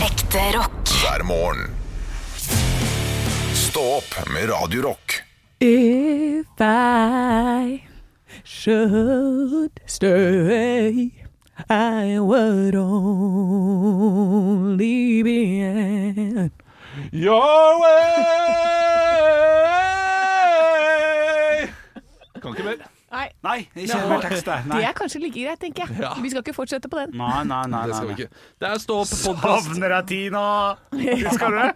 Ekte rock. hver morgen. Stå opp med Radio Rock. If I should stay, I would only be an Your way! Kan ikke mer. Nei, Nei, jeg kjenner Nå. mer tekst der. Nei. det er kanskje like greit, tenker jeg. Ja. Vi skal ikke fortsette på den. Nei, nei, nei, Det nei, skal vi nei. ikke. Det er Stå opp-podkast. Havner jeg Tina? Husker du det?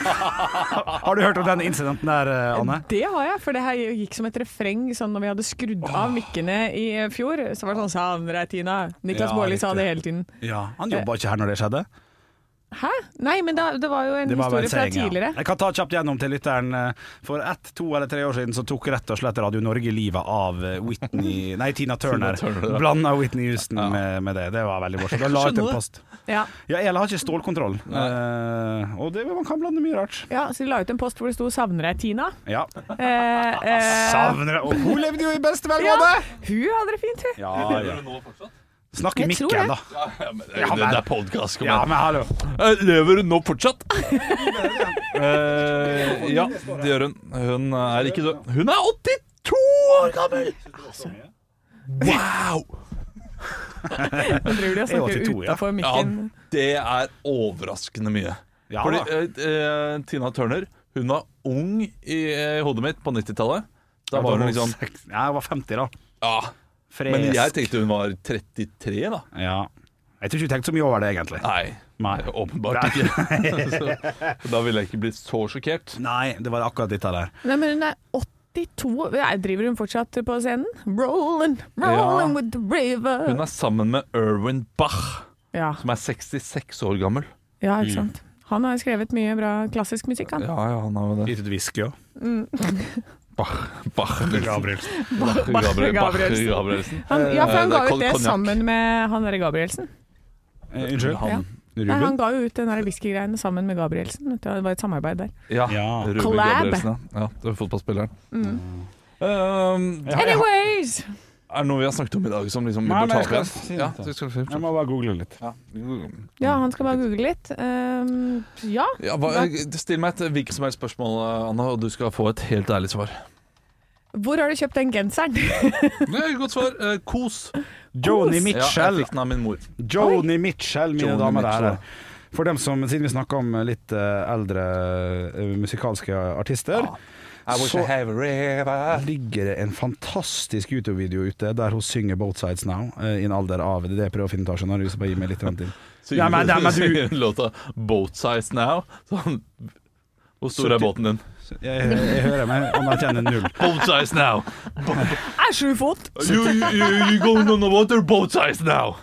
Har du hørt om den incidenten der, eh, Anne? Det har jeg, for det her gikk som et refreng sånn når vi hadde skrudd av mikkene i fjor. Så var det sånn Savner deg, Tina. Niklas Ja, Baarli sa riktig. det hele tiden. Ja, Han jobba ikke her når det skjedde. Hæ? Nei, men da, det var jo en Det var bare historie en fra saying, ja. tidligere. Jeg kan ta kjapt gjennom til lytteren. eh, For ett, to eller tre år siden så tok rett og slett Radio Norge livet av eh, Whitney Nei, Tina Turner. Turner, ja. Blanda Whitney Houston med, med det. Det var veldig morsomt. Jeg la ut Skjønner en det. post. Ja. Ja, Ela har ikke stålkontroll. Eh, og det, man kan blande mye rart. ja, Så de la ut en post hvor det sto 'Savner deg, Tina'. Ja. Eh, eh, Savner det. Og hun levde jo i beste Ja, velgående! hun hadde det fint, hun. Ja, ja. Ja, Snakk i Jeg tror det. mikken, da. men det, det, det er podkast, kom Ja, igjen. men hallo. Eh, Lever hun nå fortsatt? Eh, ja, det gjør hun. Hun er ikke død. Hun er 82 år gammel! Wow! Hun driver de og Jeg er snakker 82, ja. utafor Ja, mikken. det er overraskende mye. Ja, Fordi da. eh, eh, Tina Turner, hun var ung i eh, hodet mitt på 90-tallet. Da var hun liksom seks- Nei, jeg var 50, da. Ja, Fresk. men jeg tenkte hun var 33, da. ja. Jeg tror ikke du tenkte så mye over det, egentlig. Nei, Nei. åpenbart ikke. så, da ville jeg ikke blitt så sjokkert. Nei, det var akkurat dette der. Nei, men hun er 82 Nei, Driver hun fortsatt på scenen? Rolling, rolling Ja. with the river. Hun er sammen med Erwin Bach, Ja, som er 66 år gammel. ja, ikke sant. Han har skrevet mye bra klassisk musikk, han. Ja, ja, han er jo det. Litt whisky òg. Bach, Bach, Gabrielsen. Bach, Bach- Gabriel- Bach Gabrielsen. Gabrielsen. han ja, for han ga Eh, det er ut det konjakk. sammen med han derre Gabrielsen. Eh, unnskyld? Han, Nei, han Ruben? ga jo ut den derre whiskygreiene sammen med Gabrielsen. vet du. Det var et samarbeid der. ja, Ja. Ruben Collab. Mm. Gabrielsen. Ja, Ja, det er fotballspilleren. Um, Ja, ja. Anyways! er det noe vi har snakket om i dag som liksom vi Nei, bør men ta jeg opp skal igjen? si Ja, det. du skal si det. Jeg må bare google litt. Ja, han skal bare google litt. Ehm, ja. Ja, hva, still meg et hvilket som helst spørsmål, Anna, og du skal få et helt ærlig svar. Hvor har du kjøpt den genseren? Nei, godt svar. Eh, kos. Joni Ja, Mitchell. jeg fikk den av min mor. Joni Mitchell, mine Joni damer og Mitchell. herrer. For dem som, siden vi snakker om litt eh, eldre eh, musikalske artister, wish I have a river. ligger det en fantastisk YouTube-video ute der hun synger 'Both Sides Now' eh, i en alder av Det er det jeg prøver å finne ut av, skjønner du, så bare gi meg litt grann til. Ja, men- ja, men du- låta 'Boat Size Now'. Sånn. Hvor stor er båten din? Jeg, jeg hører meg, anerkjenner null. Boat size now! Er sju fot! You, you, you going on the water? Boat size now!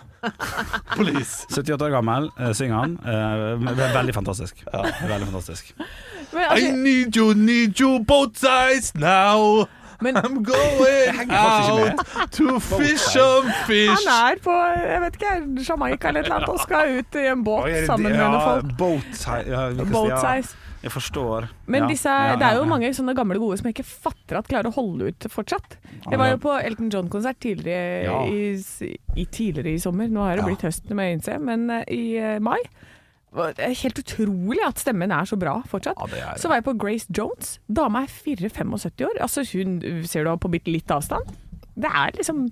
Please! 78 år gammel, eh, synger han. Eh, ve- veldig fantastisk. Veldig fantastisk. Men, I altså, need you, need you, boat size now! men I'm going out to fish some fish! Han er på jeg vet ikke, Jamaica eller et eller annet og skal ut i en båt Oi, er det sammen de- med noen ja, folk. Boat size. Ja, hvilket- Boat ja, size. Jeg forstår. Men Ja, disse, ja, det er jo ja, ja. mange sånne gamle gode som jeg ikke fatter at klarer å holde ut fortsatt. Jeg var jo på Elton John-konsert tidligere, Ja. i, s- i, tidligere i sommer. Nå har det blitt høst, må jeg innse, men eh, i eh, mai. Og Det er helt utrolig at stemmen er så bra fortsatt. Så var jeg på Grace Jones. Dama er 4-75 år. Altså hun ser du på bitte litt avstand. Det er liksom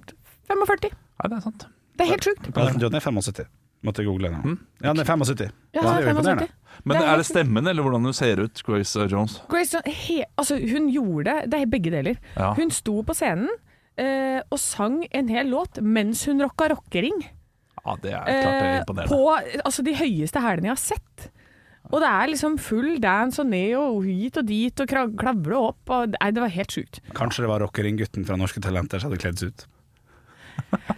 45. Nei, det er sant. Det er helt sjukt. Elton John er 75. Måtte google det. nå. Hm? Ja, han er 75. Ja, det er jo 75. imponerende. Men Det er er det helt- stemmen eller hvordan hun ser ut, Grace eh, Jones? Grace Jones, he, altså hun gjorde det, det er begge deler. Ja. Hun sto på scenen eh, og sang en hel låt mens hun rocka rockering. Ja, det er klart det er eh, imponerende. på altså, de høyeste hælene jeg har sett. Og det er liksom full dance og ned og hit og dit og kra- klavre opp. Og, nei, det var helt sjukt. Kanskje det var rockering-gutten fra Norske Talenter som hadde kledd seg ut. Det er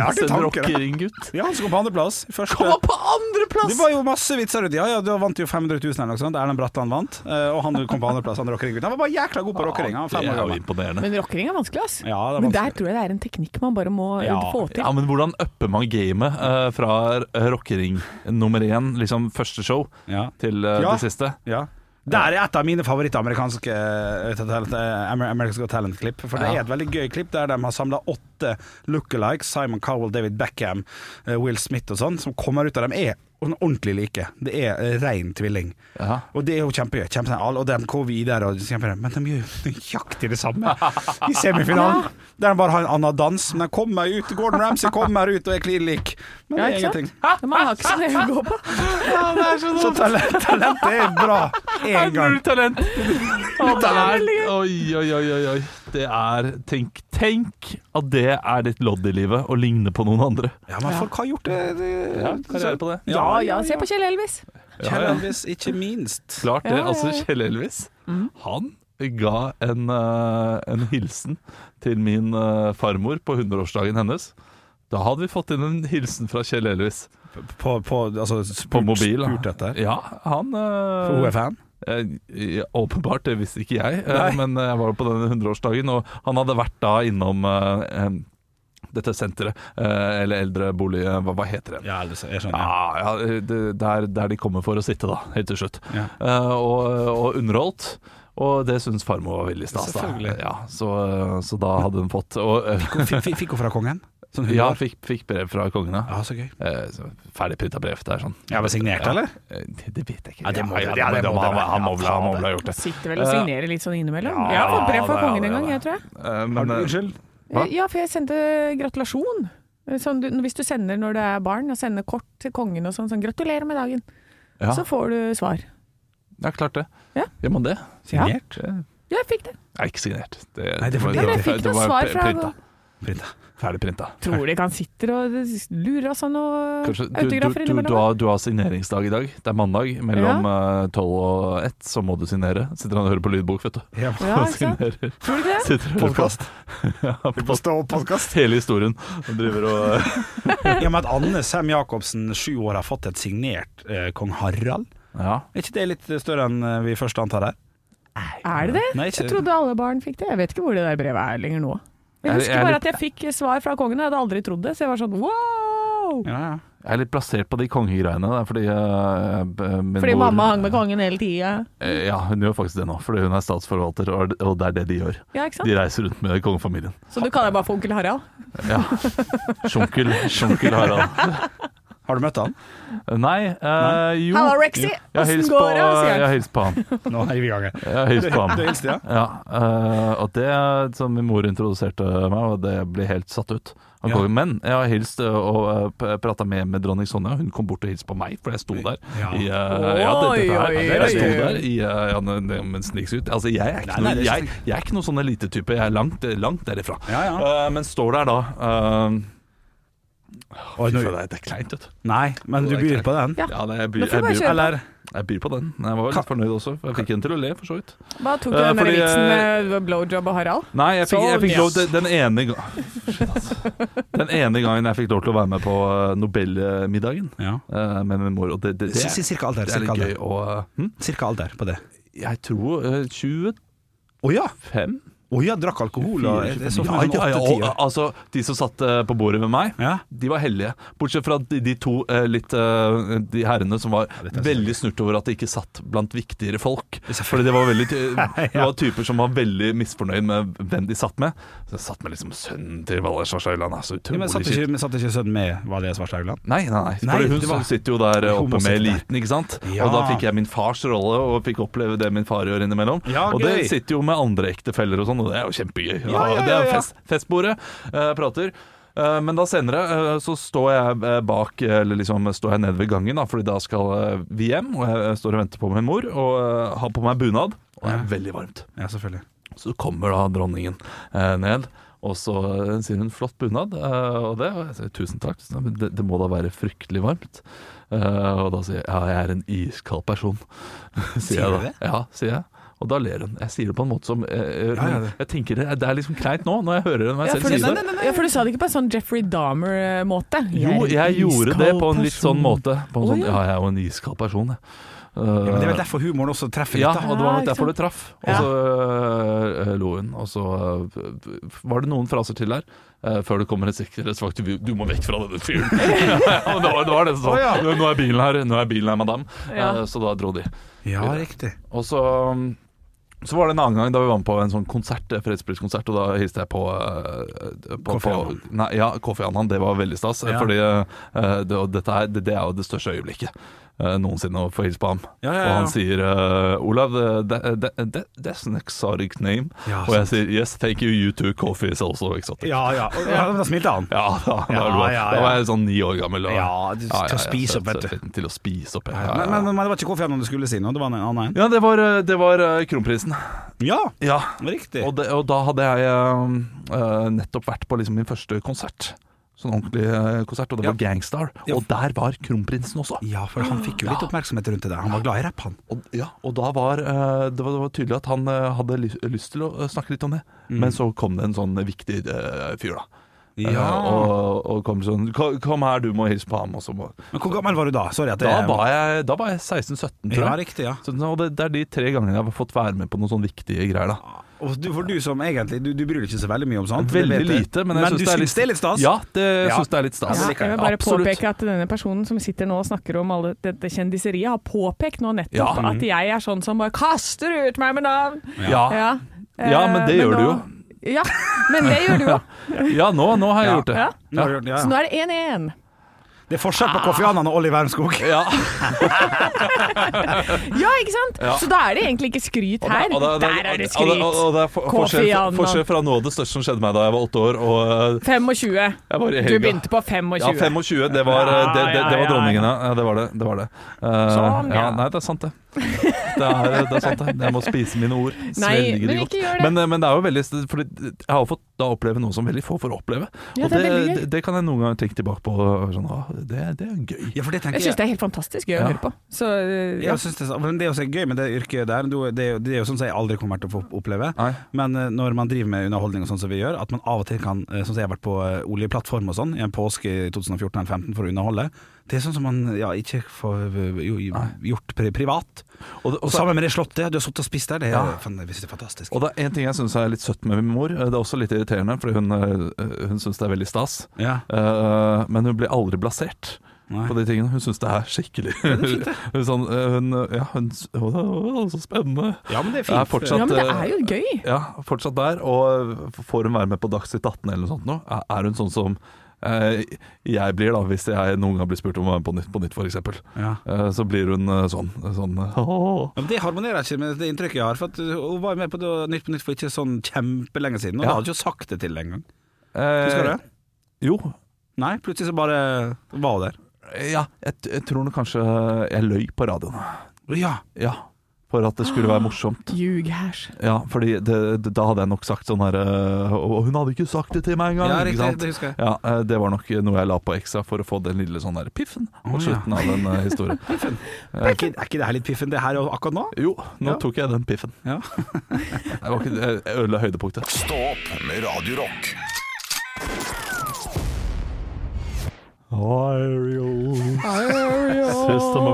Altså, artige en tanker, da. rockering-gutt. Ja, han som kom på andreplass. Første- Kom på andreplass! Det var jo masse vitser ut. Ja, ja, du vant jo 500 000 eller noe sånt. Erlend Bratland vant, eh, og han kom på andreplass. Han rockering-gutten. Han var bare jækla god på rockering. Han var fem det år er jo gammel. imponerende. Men rockering er vanskelig, ass. Ja, det er Men der vanskelig. tror jeg det er en teknikk man bare må eh, Ja, få til. Ja, men Hvordan upper man gamet eh, fra eh, rockering nummer én, liksom første show, Ja. til eh, Ja. det siste? Ja. Det er et av mine favorittamerikanske eh, talent- eh, Amer- America's Got Talent-klipp. For Ja. det er et veldig gøy klipp der de har samla åtte lookalikes. Simon Cowell, David Beckham, eh, Will Smith og sånn, som kommer ut av dem, er ordentlig like. Det er eh, rein tvilling. Ja. Og det er jo kjempegøy. kjempe- og de går videre og kjemper, men de gjør jo nøyaktig det samme i semifinalen. Der de bare har en annen dans, men de kommer ut. Gordon Ramsay kommer ut og er klin lik. Men Ja, det er ikke ingenting. sant? Man har ikke så mye å gå på. Så talent, talentet er bra én gang. Null talent! Å, det er, oi, oi, oi, oi, oi. Det er Tenk, tenk at det er ditt lodd i livet, å ligne på noen andre. Ja, men folk har gjort det. det Ja, karriere på det. Ja, ja, se på Kjell Elvis. Kjell Elvis, ikke minst. Klart det. Ja, Mm. ja, ja. Altså, Kjell Elvis, han ga en, eh, en hilsen til min eh, farmor på 100-årsdagen hennes. Da hadde vi fått inn en hilsen fra Kjell Elvis På, på, altså, spurt, på mobil. Spurt etter. Ja, han eh, Hun er fan. Eh, ja, Åpenbart, det visste ikke jeg, eh, men eh, jeg var på denne 100-årsdagen, og han hadde vært da innom eh, em, dette senteret, eh, eller eldrebolig, eh, hva, hva heter det? sånn, Ja, Elvis, jeg Ja, ja, det, der, der de kommer for å sitte, da, helt til slutt. Ja. Eh, og, og underholdt. Og det syns farmor var veldig stas. da. Selvfølgelig. Ja, så, eh, så da hadde hun fått og, eh, Fikk, fikk hun fra kongen? Sånn hundre Ja, år? fikk, fikk brev fra kongen, ja. Ja, så gøy. Eh, så Ferdig printa brev. Det er sånn Ja, men signert, eller? eh, Det, det vet jeg ikke. Ja, det må- Ja, ja, det men må det han- være. Han må vel han må vel ha gjort det. Sitter vel og signerer litt sånn innimellom. Ja, Jeg har fått brev fra det, ja, kongen det, en gang, ja, jeg tror jeg. Eh, Har Men, du- eh, Unnskyld? Hva? Ja, for jeg sendte gratulasjon. Sånn, du, hvis du sender når det er barn, og sender kort til kongen og sånn, sånn 'gratulerer med dagen', Ja. så får du svar. Ja, klart det. Ja. Gjør man det? Signert? Ja, jeg fikk det. Nei, ikke signert. Det, Nei, det får var- bli Men jeg det- fikk det noe var svar pr- fra printa. Printa. Ferdig printa. Tror de kan sitte og lure oss av noen Kanskje, du, du, autografer du, du, innimellom? har, du har signeringsdag i dag. Det er mandag. Mellom eh, 12 og 1 så må du signere. Sitter han og hører på lydbok, vet du. Ja. Ja, Og Ah, ikke sant? signerer. Tror du ikke det? Sitter og hører på. Podkast. Ja, på Stå podkast. hele historien. Og driver og Ja, men at Anne Sem Jacobsen, sju år, har fått et signert eh, kong Harald, Ja. er ikke det litt større enn eh, vi først antar her? Er det det? Nei, ikke Eh, Jeg trodde alle barn fikk det. Jeg vet ikke hvor det der brevet er lenger nå. Jeg Er- er husker bare det- at jeg fikk svar fra kongen, jeg hadde aldri trodd det, så jeg var sånn wow! Ja, ja. Jeg er litt plassert på de kongegreiene. Det er fordi eh, b- min Fordi mor- mamma hang med kongen hele tida. Eh, Ja, hun gjør faktisk det nå. Fordi hun er statsforvalter, og og det er det de gjør. Ja, ikke De sant? reiser rundt med kongefamilien. Så du kaller deg bare for onkel Harald? Ja. Sjunkel, sjunkel Harald. Har du møtt han? Nei, eh, jo Halla, Rexy! Jeg har Åssen hilst på, går det? sier jeg har han. hilst på han. Nå er vi i gang. Jeg har hilst på Du han. hilste, ja? Ja, eh, og det som min mor introduserte meg, og det blir helt satt ut. Han Ja. kom, men jeg har hilst eh, og prata med, med dronning Sonja. Hun kom bort og hilste på meg, for jeg sto der. Ja. I, eh, ja, det, dette her. Oi, oi, Jeg sto oi. der i eh, ja, men- men sniks ut. Altså, jeg er ikke Nei, noe, nei, det er ikke jeg, jeg er ikke noe sånn elitetype. Jeg er langt, langt derifra. Ja, ja. Eh, men står der da eh, Oi, Fy nå- faen, det er- det er kleint, vet du. Nei, men du byr på den. Ja. Ja, det, jeg, Nå byr, får jeg jeg, bare byr, kjøre på. eller, jeg byr på den. Jeg var litt fornøyd også. for Jeg fikk henne til å le, for så vidt. Hva tok du Eh, den der fordi, vitsen eh, med blowjob og Harald? Nei, jeg fikk, jeg fikk Sånn, lov den, den ene gangen Shit, altså. Den ene gangen jeg fikk lov til å være med på eh, Nobelmiddagen Ja. eh, med min mor, og det, det, det, Si- si cirka alder. det er Cirka litt gøy alder. å hm? Cirka alder på det. Jeg tror eh, 25? Å ja! Å ja, drakk alkohol og Fire, jeg så for ja, meg sånn ja, ja, og, 8-10 år. altså, de som satt eh, på bordet med meg, Ja. de var heldige. Bortsett fra de, de to eh, litt eh, De herrene som var dette er veldig snurt over at de ikke satt blant viktigere folk. Selvfølgelig. Fordi det var veldig Det var typer som var veldig misfornøyd med hvem de satt med. Så jeg satt med liksom sønnen til Valgerd Svarstad Altså, Ja, men utrolig satt kjipt. ikke, men satt ikke sønnen med Valje Svarstad Haugland? Nei, nei, nei. Nei, For hun det var- sitter jo der oppe med Homositter der. eliten, ikke sant. Ja. Og da fikk jeg min fars rolle, og fikk oppleve det min far gjør innimellom. Ja, og det gøy. sitter jo med andre ektefeller og sånn, og det er jo kjempegøy. Ja, ja, ja, Det er ja. fest, festbordet, eh, prater. Eh, Men da senere eh, så står jeg eh, bak eh, Eller liksom står jeg nede ved gangen, da fordi da skal eh, vi hjem. Og jeg eh, står og venter på min mor, og eh, har på meg bunad. Og det er veldig varmt. Ja, selvfølgelig. Så kommer da dronningen eh, ned, og så eh, sier hun 'flott bunad', eh, og det. Og jeg sier 'tusen takk', så, men det, det må da være fryktelig varmt. Eh, og da sier jeg 'ja, jeg er en iskald person'. Sier jeg du da. det? Ja, sier jeg. Og da ler hun. Jeg sier det på en måte som eh, Ja, ja, det- Jeg tenker det, er- det er liksom kleint nå, når jeg hører meg Ja, selv for si du, det. ja, for du sa det ikke på en sånn Jeffrey eh, Dahmer-måte? Jo, jeg gjorde det på en litt sånn måte. På en Å, sånn, ja. ja, jeg Eh, er jo en iskald person, jeg. Ja, men det er vel derfor humoren også treffer Ja, litt, da. og det var nok Ja, ikke derfor sant? det traff. Og så øh, lo hun, og så øh, var det noen fraser til der. øh, før det kommer en sikkerhetsvakt Du du må vekk fra denne fyren! ja, men det var, det var det som sa nå, nå er bilen her, nå er bilen her, madam. Ja. Eh, så da dro de. Ja, riktig. Og så um, så var det en annen gang da vi var med på en sånn konsert, eh, fredspriskonsert, og da hilste jeg på, eh, på Kofi på- Annan. Nei, ja, Kofi Annan. Det var veldig stas. eh, Ja. Fordi eh, det, og dette er, det, det er jo det største øyeblikket eh, noensinne å få hilse på ham. Ja, ja, Og ja. han sier eh, Olav, eh, that- that- that- that's an exotic name. Ja, og jeg sier yes, thank you, you too, Kofi is also exotic. Ja, ja. Og, ja da smilte han. Ja, da, da, Ja, lo jeg. ja, da var ja. jeg sånn ni år gammel. og- Ja, du- til å så- spise opp, vet så- du. Til å spise opp, ja. ja, Men, ja. men, men det var ikke Kofi Annan du skulle si nå, det var en annen en? Ja, det var, eh, det var eh, kronprinsen. Ja, Ja, riktig. Og, det, og da hadde jeg um, eh, nettopp vært på liksom min første konsert. Sånn ordentlig eh, konsert, og det Ja. var Gangstar. Ja. Og der var kronprinsen også. Ja, for han fikk jo litt oppmerksomhet rundt det der. Han var glad i rapp, han. Og, ja, og da var eh, det, var det var tydelig at han eh, hadde ly- lyst til å eh, snakke litt om det. Mm. Men så kom det en sånn viktig eh, fyr, da. Eh, og, og, og kom sånn "Ko- Kom her, du må hilse på ham. Og så må. men hvor gammel var du da? Sorry at det Da var jeg, da var jeg 16-17, tror Ja, jeg. riktig, ja. Så, og det, det er de tre gangene jeg har fått være med på noen sånne viktige greier. da Og du, for du som egentlig Du, du bryr deg ikke så veldig mye om sånt. det Veldig vet jeg. lite, men jeg du syns det er litt, syns det er litt stas? Ja, det, jeg Ja. synes det er litt stas. Ja, Ja, det jeg liker jeg. vil bare Absolutt. påpeke at denne personen som sitter nå og snakker om alle dette kjendiseriet, har påpekt nå nettopp Ja. at jeg er sånn som bare kaster ut meg med navn. Ja, Ja, Ja, men det gjør du jo. jo. Ja, men det gjør du jo. ja nå, nå har jeg Ja. gjort det. Ja. Nå har du gjort det, ja, Så nå er det 1-1. ja. Det er forskjell på Kofi Annan og Olli Wermskog. Ja. Ja, ikke sant? Ja. Så da er det egentlig ikke skryt her. Og da- og da- Der er det Og, da- og, skryt. og det er for, Kofi forskjell, Annan. forskjell fra noe av det største som skjedde meg da jeg var åtte år, og eh, 25. jeg var i Du helga. begynte på 25. Ja, 25. Det var, eh, det, det, det Ja, ja, var ja. dronningen, ja. ja. Det var det. det, var det. Eh, Sånn, ja. ja. Nei, det er sant, det. Det er, det er sant det. Jeg må spise mine ord. Nei, Svelge de men godt. ikke gjør det. Men, eh, men det er jo veldig Fordi jeg har fått da oppleve noe som veldig få får oppleve. Ja, det og det, er veldig gøy. det, kan jeg noen ganger tenke tilbake på. Sånn, ah, det, det er gøy. Ja, for det tenker Jeg jeg. syns det er helt fantastisk gøy å Ja. høre på. Så øh, ja. Jeg synes det, er så- men det er også gøy med det yrket der. Du- Det er jo- det er jo sånn som jeg aldri kommer til å få oppleve. Nei. Men eh, når man driver med underholdning og sånn som vi gjør, at man av og til kan, eh, sånn som jeg har vært på eh, oljeplattform og sånn, i en påske i 2014 eller 2015 for å underholde, det er sånn som man ja, ikke får eh, jo, gjort pri privat. Og, det- Og og så sammen med det slottet, du har sittet og spist der, det er, Ja. fan, jeg synes det er fantastisk. Og det er en ting jeg syns er litt søtt med min mor. Det er også litt irriterende, fordi hun, eh, hun syns det er veldig stas. Ja. Eh, men hun blir aldri blasert Nei. på de tingene. Hun syns det er skikkelig Hun sånn, eh, hun, ja, hun, å, Så spennende. Ja, men det er Jeg fint. er fortsatt, men det eh, er jo gøy. ja, fortsatt der. Og eh, får hun være med på Dagsnytt 18 eller noe sånt nå? Er- Er hun sånn som eh, jeg blir, da, hvis jeg noen gang blir spurt om å være med på Nytt på Nytt, f.eks. Ja. Uh, så blir hun eh, sånn. sånn «Åh». Ja, men Det harmonerer ikke med det inntrykket jeg har. For at eh, Hun var jo med på det Nytt på Nytt for ikke sånn kjempelenge siden, og Ja. da hadde hun ikke sagt det til det engang. Eh, Husker du det? Jo. Nei, plutselig så bare var hun der. Ja, jeg, t- jeg tror nok kanskje jeg løy på radioen. Ja, Ja, for at det skulle være morsomt. Ljughæsj. Ja, fordi det, det, da hadde jeg nok sagt sånn her øh, Og hun hadde ikke sagt det til meg engang! ja ikke riktig, sant? det husker jeg. Ja, eh, det var nok noe jeg la på ekstra for å få den lille sånn der piffen mot Å, ja. slutten av den eh, historien. Er ikke, er ikke det her litt piffen, det her og akkurat nå? Jo, nå Ja. tok jeg den piffen. Ja. Jeg, var ikke, jeg jeg ødela høydepunktet. Stå opp med Radio Rock.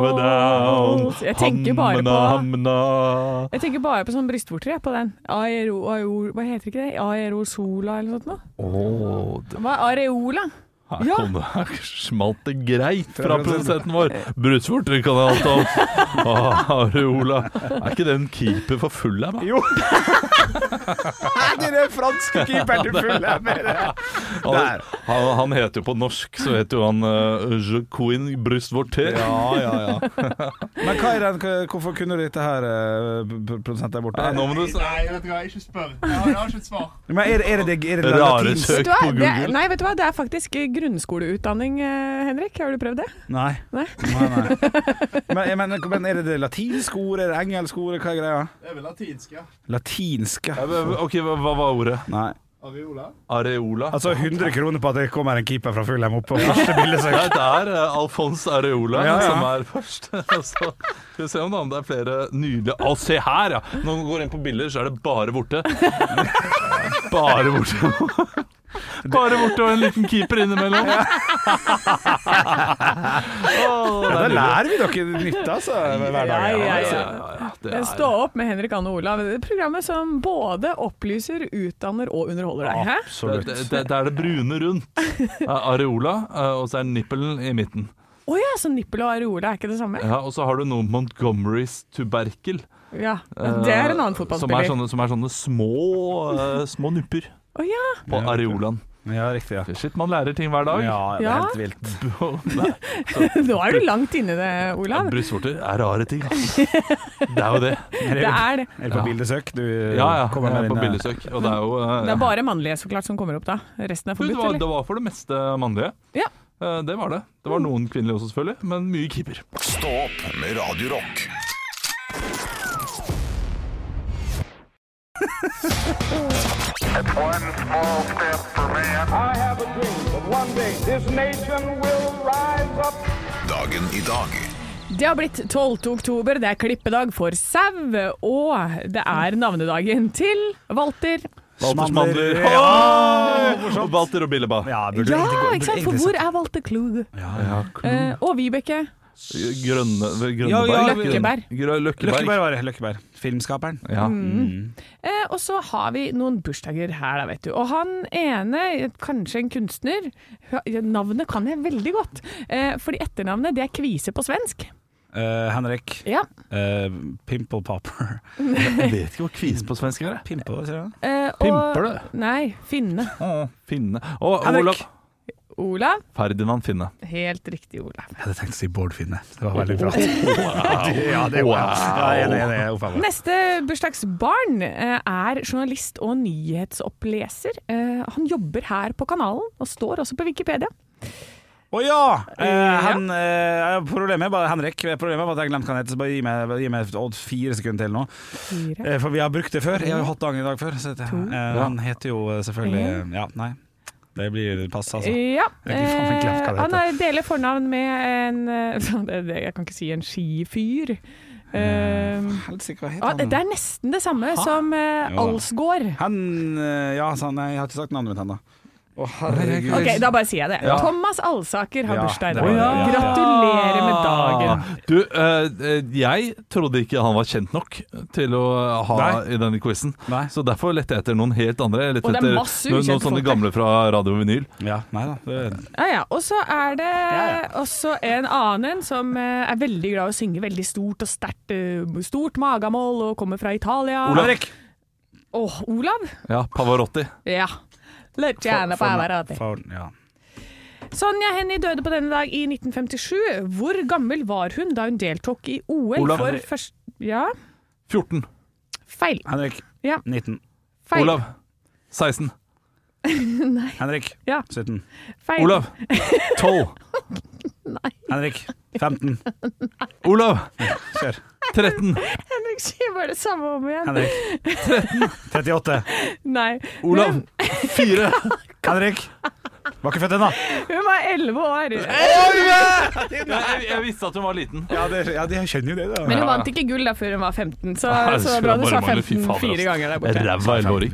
Jeg tenker bare på Jeg tenker bare på sånn brystvorter, jeg, på den. Aero, aero, hva heter ikke det? Aerosola eller noe sånt noe? Åh, det- Hva er areola? Her Ja. kom det, her smalt det greit fra produsenten vår. Brusvorter kan jeg alt om. Ah, Areola. Er ikke det en keeper for full her, da? Jo! det er den franske keeperen du følger med det. Han, Der. han, han heter jo på norsk, så heter jo han uh, Jacquin Brustvorter. Ja, ja, ja. Men hva er den, hva- hvorfor kunne du dette her, eh, p- produsent der borte? Nei, nå må du s- Nei, vet du hva, ikke spør. Jeg har, jeg har ikke et svar. Men er, er det det, er det Rare latinsk? søk. Vet du hva? på Det, Google. nei, vet du hva? det er faktisk grunnskoleutdanning, eh, Henrik. Har du prøvd det? Nei. Nei. nei, nei. Men, men, men er det det latinske ordet, er det engelske ordet, hva er greia? Det er vel latinsk, ja. Latinske? Ja, men, Ok, hva, hva var ordet? Nei. Areola. Areola? Altså 100 kroner på at det kommer en keeper fra Fulham opp på første ja, bildesøk. det er uh, Alfons Areola Ja, ja. som er først. så, skal vi se om det andre er flere nydelige Å, se her, ja! Når man går inn på bilder, så er det bare borte. Bare borte. Bare borte og en liten keeper innimellom. Da lærer vi dere nytt, altså. Hver dag. Ja, ja, Ja, ja. ja, ja, det Men er- Stå opp med Henrik Anne og Olav. Det er Programmet som både opplyser, utdanner og underholder deg. Hæ? Absolutt. Det, det, det er det brune rundt. eh, Areola, eh, og så er nippelen i midten. Å ja, så nippel og areola er ikke det samme? Ja, og så har du noe Montgomerys tuberkel. Ja, eh, Det er en annen Som er fotballspiller. Å sånne, som er sånne små, eh, små nupper ja. på Ja, areolaen. Ja, riktig. Ja. Shit, man lærer ting hver dag. Ja, det er Ja. helt vilt. Nå er du langt inni det, Olav. Brystvorter er rare ting, ass. Det er jo det. Det er det. Er du Ja. på bildesøk? Du Ja, ja. kommer jeg er med på dine- bildesøk. Og det er jo eh, Det er bare mannlige så klart som kommer opp da. Resten er Du, det, forbudt, var, eller? det var for det meste mannlige. Ja. Eh, Det var det. Det Mm. var noen kvinnelige også, selvfølgelig, men mye keeper. Stå opp med Radio Rock. One small step for man. I have a dream that one day this nation will rise up. Dagen i dag. Det har blitt 12. oktober, det er klippedag for sau, og det er navnedagen til Walter. Walter Mandler. Mandler. Og Walter og Billeba. Ja, burde Ja, egentlig gå- ikke burde sant? For egentlig hvor sagt- er Walter Klug? Ja, Eh, og Vibeke. Grønne, eh, grønne Ja, ja, bær. Løkkebær. Grønne- Løkkeberg. Løkkeberg var det. Løkkeberg. Filmskaperen. Ja. Eh, og så har vi noen bursdager her, da, vet du. Og han ene, kanskje en kunstner hø- Navnet kan jeg veldig godt, eh, fordi etternavnet det er Kvise på svensk. Eh, Henrik. Ja. eh, Pimple Popper. Jeg vet ikke hva kvise på svensk er. jeg. Pimple, sier jeg. Eh, og- Pimper Nei, Finne. Å, Finne. Å, Henrik. Olav. Olav. Ferdinand Finne. Helt riktig, Olav. Jeg hadde tenkt å si Bård Finne. Det var veldig bra. oh, ja, det er Wow. Ja, jeg er enig, jeg er enig. Uff, jeg var- Neste bursdagsbarn eh, er journalist og nyhetsoppleser. Eh, han jobber her på kanalen, og står også på Wikipedia. Å ja! Eh, han, eh, problemet er bare Henrik. Problemet er bare at jeg glemte hva han heter, så bare gi meg, gi meg odd, fire sekunder til nå. Fire. Eh, for vi har brukt det før. Jeg har jo hatt dagen i dag før. Så det, eh, han heter jo eh, selvfølgelig Ja, nei. Det blir pass, altså. Ja. Jeg har ikke faen meg glemt hva eh, det han er, deler fornavn med en eh, det- det- Jeg kan ikke si en skifyr. Eh, Helsike, hva ah, det er nesten det samme som eh, Jo da. Alsgaard. Han eh, Ja, sa han, nei, jeg har ikke sagt navnet mitt ennå. Å, Ok, Da bare sier jeg det. Ja. Thomas Alsaker har Ja, bursdag i det dag. var det, ja. Gratulerer med dagen. Du, eh, eh, jeg trodde ikke han var kjent nok til å eh, ha Nei. i denne quizen. Nei. Så derfor lette jeg etter noen helt andre. Jeg lette Og det er etter masse noen, ukjente noen folk sånne der. gamle fra radio og vinyl. Ja, nei da. Det, Ja, ja. Og så er det ja. også en annen en som eh, er veldig glad i å synge veldig stort og sterkt. eh, Stort magamål og kommer fra Italia. Olav. Henrik! Åh, Olav? Ja, Pavarotti. Ja. Luciano Pavarotti. For, ja. Sonja Hennie døde på denne dag i 1957. Hvor gammel var hun da hun deltok i OL Olav. for først... Ja, 14. feil. Henrik. Ja. 19. Feil. Olav. 16. Henrik. Ja. 17. Feil. Olav. 12. Henrik. 15. Olav. Kjør. 13. Henrik sier bare det samme om igjen. Henrik. 38. Nei. Olav. 4. Henrik. Var ikke født ennå. Hun, hun var 11 år. Jeg, jeg visste at hun var liten. Ja, det- ja, de skjønner jo det, da. Men hun Ja, ja. vant ikke gull da før hun var 15, så, Nei, Ah, det så det skulle er bra du bare sa mangle. 15 Fy fader, fire altså. ganger der borte. Ræva elleveåring.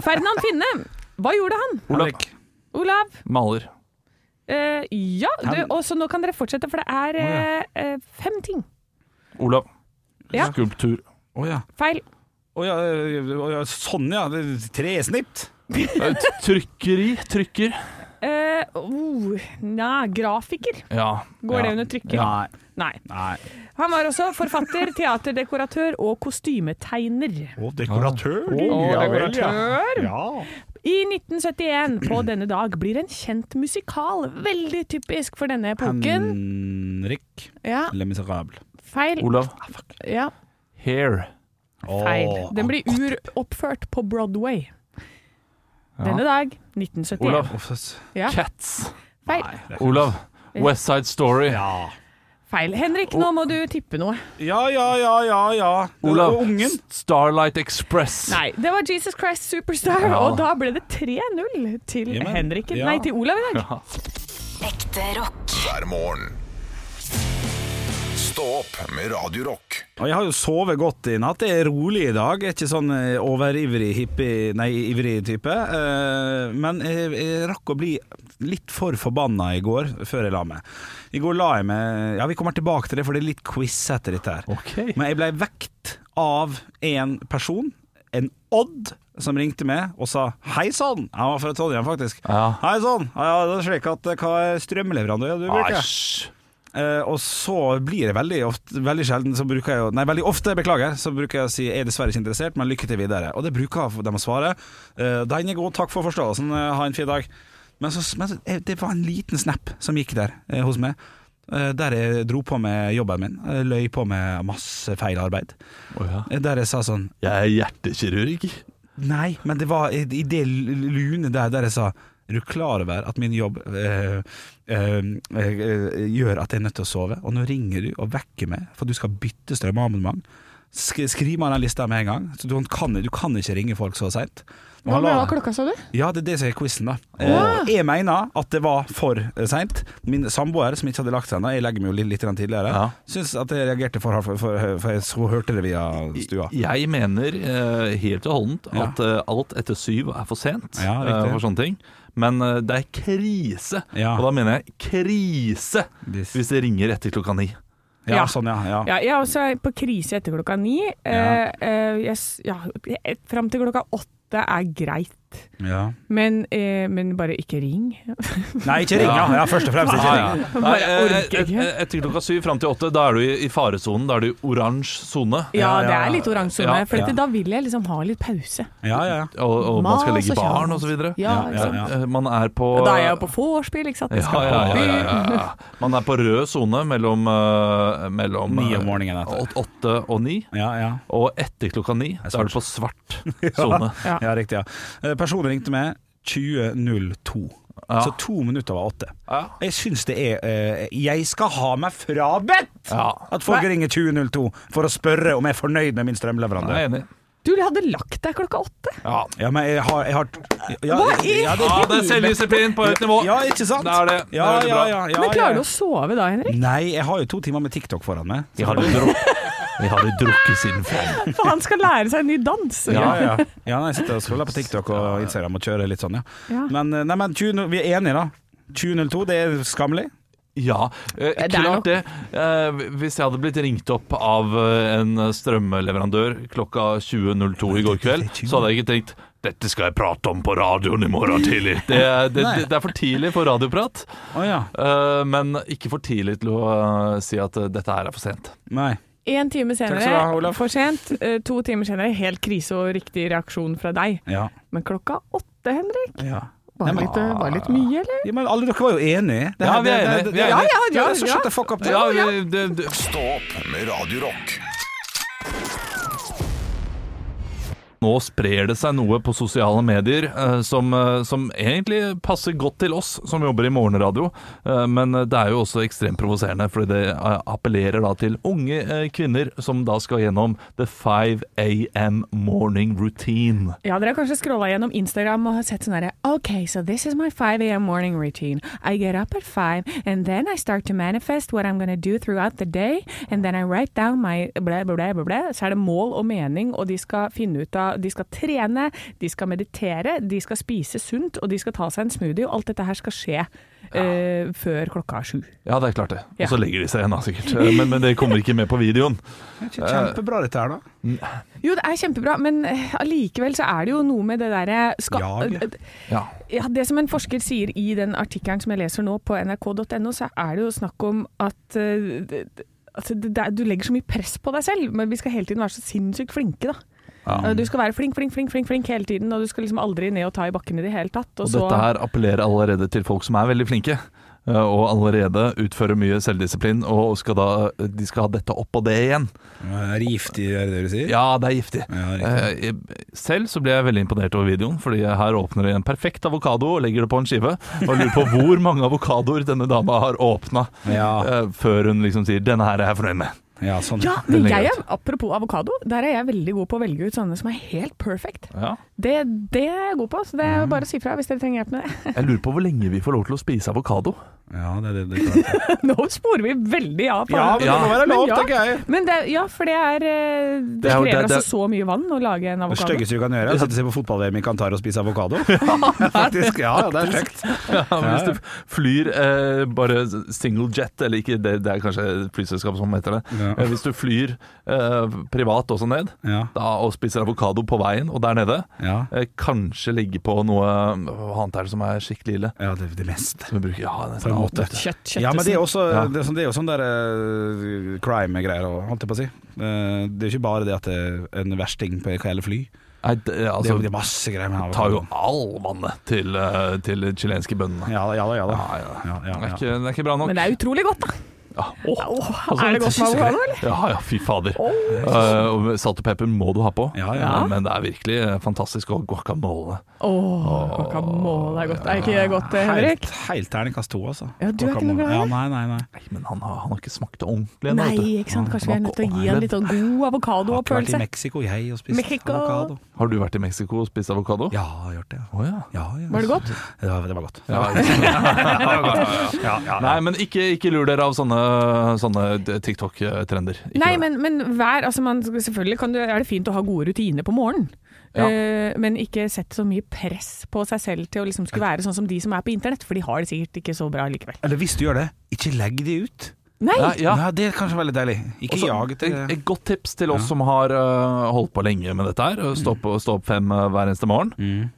Ferdinand Finne, hva gjorde han? Olav. Henrik. Olav? Maler. Eh, ja, du, og så nå kan dere fortsette, for det er eh, eh, fem ting. Olav. Ja. Skulptur. Å ja. Feil. Å ja, å ja. Sånn, ja. Det- Tresnitt. Eh, Trykkeri. Trykker. Eh, oh, nei, grafiker. Ja. Går det under trykker? Nei. Nei. Nei. Han var også forfatter, teaterdekoratør og kostymetegner. Og dekoratør. du. Og Ja vel, dekoratør. Ja. I 1971, på denne dag, blir en kjent musikal. Veldig typisk for denne epoken. Henrik Ja, Le Miserable. feil. Olav. Ja, Hair. feil. Å, Den blir uroppført på Broadway. Denne dag, 1971. Olav. Uff, ass. Ja, Cats. feil. Nei, det er- Olav. West Side Story. Ja. feil. Henrik, nå må du tippe noe. Ja, ja, ja, ja, ja. Olav. Og Ungen. S- Starlight Express. Nei, det var Jesus Christ Superstar, Ja. og da ble det 3-0 til Jamen, Henrik. ja. Nei, til Olav i dag. Ekte rock. Hver morgen. Stå opp med Radio Rock. Og jeg har jo sovet godt i natt. Det er rolig i dag. Jeg er ikke sånn eh, overivrig hippie, nei, ivrig type. Eh, Men jeg, jeg rakk å bli litt for forbanna i går før jeg la meg. I går la jeg meg Ja, vi kommer tilbake til det, for det er litt quiz etter dette her. Ok. Men jeg ble vekt av en person, en Odd, som ringte meg og sa hei sann. Han var fra Trondheim, faktisk. Ja. Hei sann. Ja, ja, det er slik at eh, hva er strømleverandør du bruker? Æsj. Eh, og så blir det veldig ofte Veldig sjelden så bruker jeg jo Nei, veldig ofte, beklager, så bruker jeg å si jeg er dessverre ikke interessert, men lykke til videre. Og det bruker de å svare. Eh, den er god, takk for forståelsen, eh, ha en fin dag. Men, så, men så, eh, det var en liten snap som gikk der eh, hos meg. eh, der jeg dro på med jobben min. eh, løy på med masse feil arbeid. Å ja. Eh, der jeg sa sånn Jeg er hjertekirurg. Nei, men det var i i det lune der, der jeg sa Er du klar over at min jobb eh, eh, eh, gjør at jeg er nødt til å sove? Og nå ringer du og vekker meg, for du skal bytte strømabonnement. Sk skriv meg den lista med en gang. Så du, kan, du kan ikke ringe folk så seint. Hva var klokka, sa du? Ja, det er det som er quizen, da. Eh, jeg mener at det var for seint. Min samboer, som ikke hadde lagt seg ennå, jeg legger meg jo litt, litt grann tidligere, Ja. syns at jeg reagerte for hardt, for, for, for jeg så hørte det via stua. Jeg mener eh, helt og holdent at eh, alt etter syv er for sent Ja, riktig. eh, for sånne ting. Men eh, det er krise, Ja. og da mener jeg krise Hvis- hvis det ringer etter klokka ni. Ja, Ja. sånn, ja. ja. Ja, jeg er også på krise etter klokka ni. Ja. Eh, eh, jeg s- ja, eh, Fram til klokka åtte er greit, ja. men, eh, men bare ikke ring. Nei, ikke ring, Ah, ja. ja først og fremst ikke Ja, ring. ja. Bare Nei, eh, orker ikke. et- Etter klokka syv fram til åtte, da er du i i faresonen. Da er du i oransje sone. Ja, Ja, ja, det ja. er litt oransje Ja, sone, for ja. dette- da vil jeg liksom ha litt pause. Ja, ja. Og, og man skal Mas ligge i og baren kjas. osv. Ja, ikke ja, sant? ja. Eh, Man er på eh, Da er jeg jo på vorspiel, ikke sant. Jeg ja, skal på ja, ja, ja, byen. ja, ja. Man er på rød sone mellom, eh, mellom Ni om eh, morgenen etter. åt- åtte og ni. Ja, ja. Og etter klokka ni, da er du på svart sone. Ja. riktig. ja Eh, Personen ringte meg 20.02. Ja. Så to minutter over åtte. Ja. Jeg syns det er eh, Jeg skal ha meg frabedt Ja. at folk ringer 20.02 for å spørre om jeg er fornøyd med min Jeg er strømleverandør. enig. Du hadde lagt deg klokka åtte. Ja. Ja, men jeg har, jeg har ja, Hva i ja, det, ja, det er selvdisiplin på høyt nivå. ja, ikke sant? Det er det. Ja, det er veldig ja, bra. ja, ja, Men klarer du å ja. sove da, Henrik? Nei, jeg har jo to timer med TikTok foran meg. Vi har jo drukket, vi har jo drukket siden fem. For han skal lære seg en ny dans. Ja, ja. ja nei, jeg sitter og scroller på TikTok og Instagram og kjører litt sånn, ja. Ja. Men, eh, nei, men 20, vi er enige, da. 2002, det er skammelig. Ja, eh, er nok- klart det. Eh, hvis jeg hadde blitt ringt opp av eh, en strømleverandør klokka 20.02 i går kveld, så hadde jeg ikke tenkt dette skal jeg prate om på radioen i morgen tidlig. Det, er- det, det, det er for tidlig for radioprat, Å ja. eh, men ikke for tidlig til å eh, si at eh, dette her er for sent. Nei. Én time Takk skal du ha, senere, Olav. for sent. Eh, To timer senere, helt krise og riktig reaksjon fra deg. Ja. Men klokka åtte, Henrik, ja. var Nei, men- litt, eh, var litt mye, eller? Ja, men alle dere var jo enige. Det Ja, her- vi er det- enige, det- vi er det- enige. Ja, ja, ja, Så ja. shut the fuck up. Ja, vi- det, det, Stå opp med Radio Rock. Nå sprer det seg noe på sosiale medier eh, som, eh, som egentlig passer godt til oss som jobber i morgenradio, eh, men det er jo også ekstremt provoserende, fordi det eh, appellerer da til unge eh, kvinner som da skal gjennom the 5 am morning routine. Ja, dere har kanskje scrolla gjennom Instagram og har sett sånn herre OK, so this is my 5 a.m. morning routine. I get up at 5, and then I start to manifest what I'm gonna do throughout the day, and then I write down my blæ, blæ, blæ, blæ, blæ. Så er det mål og mening, og de skal finne ut av De skal trene, de skal meditere, de skal spise sunt, og de skal ta seg en smoothie, og alt dette her skal skje eh, før klokka er sju. Ja, det er klart det. Ja. Og så legger de seg igjen da, sikkert. Eh, Men, men det kommer ikke med på videoen. Det er Kjempebra dette her, da. Jo, det er kjempebra, men eh, allikevel så er det jo noe med det derre skal- Jaget. Ja. ja, Det som en forsker sier i den artikkelen som jeg leser nå på nrk.no, så er det jo snakk om at eh, det- det- at det, det, er- du legger så mye press på deg selv, men vi skal hele tiden være så sinnssykt flinke, da. Eh, Du skal være flink, flink, flink flink, flink hele tiden, og du skal liksom aldri ned og ta i bakken i det hele tatt. Og dette her appellerer allerede til folk som er veldig flinke. eh, Og allerede utfører mye selvdisiplin, og skal da, eh, de skal ha dette opp og det igjen. Riftig, er det det du sier? Ja, det er giftig. Ja, Eh, jeg- selv så ble jeg veldig imponert over videoen, fordi her åpner de en perfekt avokado og legger det på en skive. Og lurer på hvor mange avokadoer denne dama har åpna Ja. eh, før hun liksom sier 'denne her er jeg fornøyd med'. Ja, sånn. Ja, men Den ligger jeg ut. er, apropos avokado, der er jeg veldig god på å velge ut sånne som er helt perfect. Ja. Det, det er jeg god på, så det er bare å si fra hvis dere trenger hjelp med det. Jeg lurer på hvor lenge vi får lov til å spise avokado. Ja, det, det, det, er klart. Nå sporer vi veldig av. på ja, men det må være lov, tenker jeg. Men det, ja, for det er eh, Det Det er jo- krever det- det- altså så mye vann å lage en Det avokado. styggeste du kan gjøre, er å sitte og se på fotball-VM i Qatar og spise avokado. Faktisk. Ja, ja, det er stygt. Ja, men hvis du flyr eh, bare single jet, eller ikke, det, det er kanskje flyselskapet som heter det. Ja. Eh, Hvis du flyr eh, privat også ned, Ja. da, og spiser avokado på veien og der nede, Ja. eh, kanskje ligge på noe Hva annet er det som er skikkelig ille? ja, det, det meste. Som vi bruker, ja, På nesten en alt, måte. vet du. Kjøtt, kjøtt, Ja, men det er også, Ja. det er sånn, det er jo sånn der eh, crime-greier og holdt jeg på å si. Eh, det er jo ikke bare det at det er en versting på hva gjelder fly. Nei, det, det, er altså, jo, det er masse greier med tar jo avokado. all vannet til, eh, til de chilenske bøndene. Ja da, ja da. Ja, da. Ja, ja. ja, Det, er ja, ja. ikke, det er ikke bra nok. Men det er utrolig godt, da. ja. Åh, Åh, altså, er det godt med Jesus avokado, Christ. eller? Ja, ja, fy fader. Eh, og salt og pepper må du ha på, Ja, ja. Eh, men det er virkelig eh, fantastisk. Og guacamole. Åh, guacamole er godt. Er ikke det godt, eh, Henrik? Helt, helt terningkast to, altså. Ja, du er ikke noe glad i Ja, det? nei, nei, nei. Nei, men han har, han har ikke smakt det ordentlig ennå. Nei, vet du. ikke sant. Kanskje vi er nødt til å gi en litt sånn god avokado Har og ikke vært i pølse. Mexico, jeg, og spist Mexico. avokado. Har du vært i Mexico og spist avokado? Ja, jeg har gjort det. Å, ja. Ja, ja. Var det godt? Ja, det var godt. Ja, ikke sant. Ja, ja, Nei, men ikke, ikke lur dere av sånne, sånne TikTok-trender. Ikke Nei, gjør det. men, men vær altså man, Selvfølgelig kan du, er det fint å ha gode rutiner på morgenen. Ja. Eh, men ikke sett så mye press på seg selv til å liksom skulle være sånn som de som er på internett, for de har det sikkert ikke så bra likevel. Eller hvis du gjør det, ikke legg de ut. Nei! Nei, ja. Nei, det er kanskje veldig deilig. Ikke Også, jag etter et, det. et godt tips til oss som har øh, holdt på lenge med dette her. eh, Stå Mm. opp, stå opp fem øh, hver eneste morgen.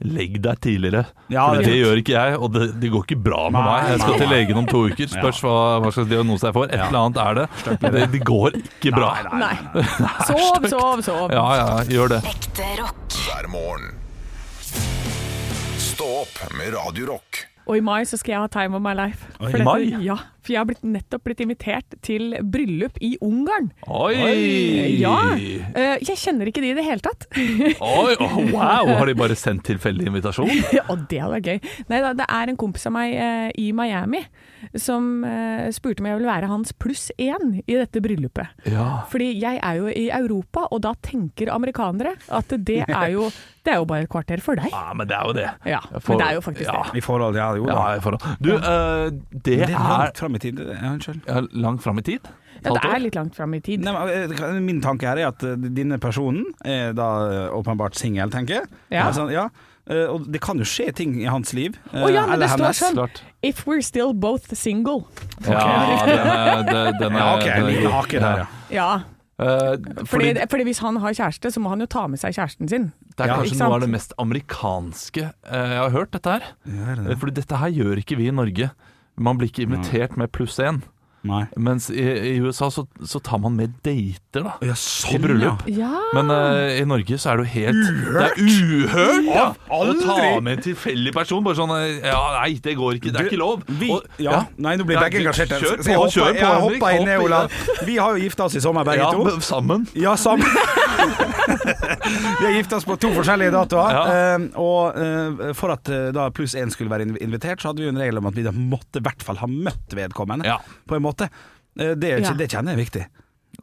Legg deg tidligere. Ja, for det det, er sant. gjør ikke jeg, og det, det går ikke bra med Nei, meg. Jeg skal nei. til legen om to uker. Spørs hva, hva slags diagnose jeg får. Et eller annet er det. Men det, det går ikke bra. Nei. Sov, sov, sov. Ja, ja, gjør det. Ekte rock. hver morgen. Stå opp med Radio Rock. Og i mai så skal jeg ha time of my life. Oi, For dette- mai? Ja, for jeg har blitt, nettopp blitt invitert til bryllup i Ungarn. Oi! Ja. Eh, Jeg kjenner ikke de i det hele tatt. Oi, oh, wow! Har de bare sendt tilfeldig invitasjon? Og det hadde vært gøy. Nei da, det er en kompis av meg eh, i Miami som eh, spurte om jeg ville være hans pluss én i dette bryllupet. Ja. Fordi jeg er jo i Europa, og da tenker amerikanere at det er jo, det er jo bare et kvarter for deg. Ja, men det er jo det. Ja, For- men det er jo faktisk ja. det. I forhold Ja, jo da. Ja, i forhold. Du, eh, det Det er er langt fram i tid. det- Ja, unnskyld. ja, langt fram i tid. Ja, det Halvt år. er litt langt fram i tid. Nei, men, eh, Min tanke her er at eh, denne personen er da eh, åpenbart singel, tenker jeg. Ja. Altså, ja. Eh, Og det kan jo skje ting i hans liv. eh, Å ja, men eller det står hennes. sånn Klart. If we're still both single. Ja, den er, den- den er, Ja, ok, den er en liten god. hake der, ja. Ja, Eh, fordi, fordi det fordi hvis han har kjæreste, så må han jo ta med seg kjæresten sin. er Ja, kanskje ikke noe sant? av det mest amerikanske eh, jeg har hørt, dette her. Eh, Fordi dette her gjør ikke vi i Norge. Man blir ikke invitert med pluss én. Nei. Mens i, i USA så, så tar man med dater, da. Å, Ja, I sånn, bryllup. Ja. Men eh, i Norge så er det jo helt Uhørt! Det er uhørt, ja! Å ta aldri! med en tilfeldig person. Bare sånn eh, Ja, nei, det går ikke. Det er Du, ikke lov. Vi, Og- ja. Nei, nå blir Ja, begge du- engasjert. her. Kjør Så jeg på, hopper- kjør på. Jeg Henrik, hopper inn, hopp i Olav. det. Vi har jo gifta oss i sommer, begge Ja, to. men sammen. Ja, sammen. Vi har gift oss på to forskjellige datoer. Ja. eh, og eh, for at eh, da pluss én skulle være inv- invitert, så hadde vi jo en regel om at vi da måtte i hvert fall ha møtt vedkommende, Ja. på en måte. Eh, det, er jo Ja. ikke- det kjenner jeg er viktig.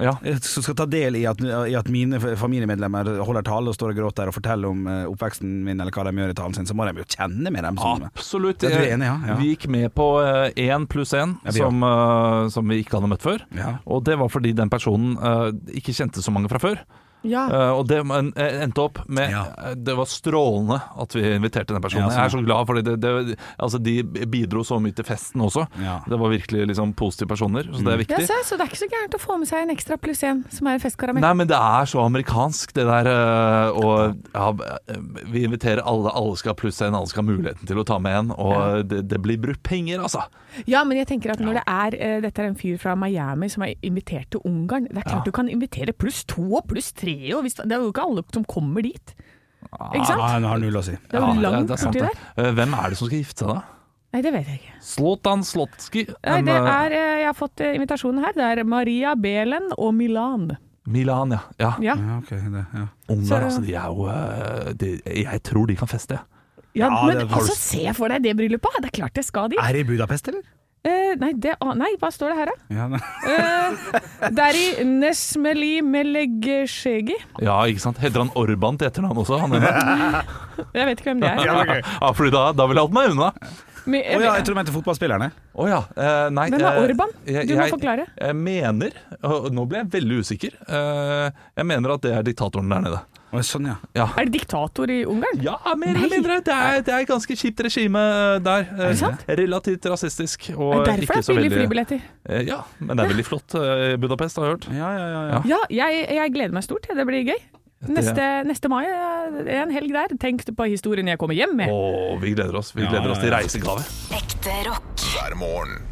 Ja. Jeg Som skal ta del i at, i at mine f- familiemedlemmer holder tale og står og gråter og forteller om eh, oppveksten min eller hva de gjør i talen sin, så må de jo kjenne med dem. Ah. Som, Absolutt. Det er du enig i, ja, ja. Vi gikk med på én pluss én, Ja, vi som, eh, som vi ikke hadde møtt før. Ja. Og det var fordi den personen eh, ikke kjente så mange fra før. Ja. Eh, og det men, eh, endte opp med Ja. eh, Det var strålende at vi inviterte den personen. Ja, sånn. Jeg er så glad, for det, det, altså, de bidro så mye til festen også. Ja. Mm. Det var virkelig liksom, positive personer, så det er viktig. Ja, se, så det er ikke så gærent å få med seg en ekstra pluss én, som er en festkaramell. Nei, men det er så amerikansk, det der. eh, Og ja, vi inviterer alle. Alle skal ha pluss én, alle skal ha muligheten til å ta med en. Og det, det blir brukt penger, altså. Ja, men jeg tenker at når det er eh, Dette er en fyr fra Miami som er invitert til Ungarn. Det er klart du kan invitere pluss to og pluss tre, og hvis, det er jo ikke alle som kommer dit. Ikke Ja, sant? hun Ah, har null å si. Det er jo Ah, Ja, langt det er sant borti det. der. Eh, Hvem er det som skal gifte seg, da? Nei, det vet jeg ikke. Zlatan Slotski. Nei, Men, det eh, er, eh, jeg har fått eh, invitasjonen her. Det er Maria Belen og Milan. Milan, ja. ja. Ja, Ja, ok, det, ja. Ungarn, Så- altså. De er jo eh, de, Jeg tror de kan feste, jeg. ja Ja, men det- altså, se for deg det bryllupet! Det er klart jeg skal dit. Er det i Budapest, eller? Eh, nei, det, an- nei, hva står det her, da? Ja, nei. Eh, Dari Nesmeli Melegesjegi. Ja, ikke sant? Heter han Orban til etternavn også? Han ene? Jeg vet ikke hvem det er. ja, fordi da, da ville jeg holdt meg unna. Men, Å jeg, ja, jeg tror du mente fotballspillerne. Å ja. eh, nei, Hvem er eh, Orban? Du må forklare. Jeg mener, og nå ble jeg veldig usikker, eh, jeg mener at det er diktatoren der nede. Å, sånn, ja. er det diktator i Ungarn? Ja, mer eller Nei. mindre. Det er, det er et ganske kjipt regime eh, der. Eh, det sant? Relativt rasistisk. Og Er det derfor det ikke er så billige veldig flybilletter? Eh, Ja, men det er veldig flott eh, i Budapest, har jeg hørt. Ja, ja, ja, ja. Ja. Ja, jeg, jeg gleder meg stort. Det blir gøy. Neste, neste mai eh, er en helg der. Tenk på historien jeg kommer hjem med. Å, vi gleder oss. Vi gleder oss til reisegave. Ekte rock. hver morgen.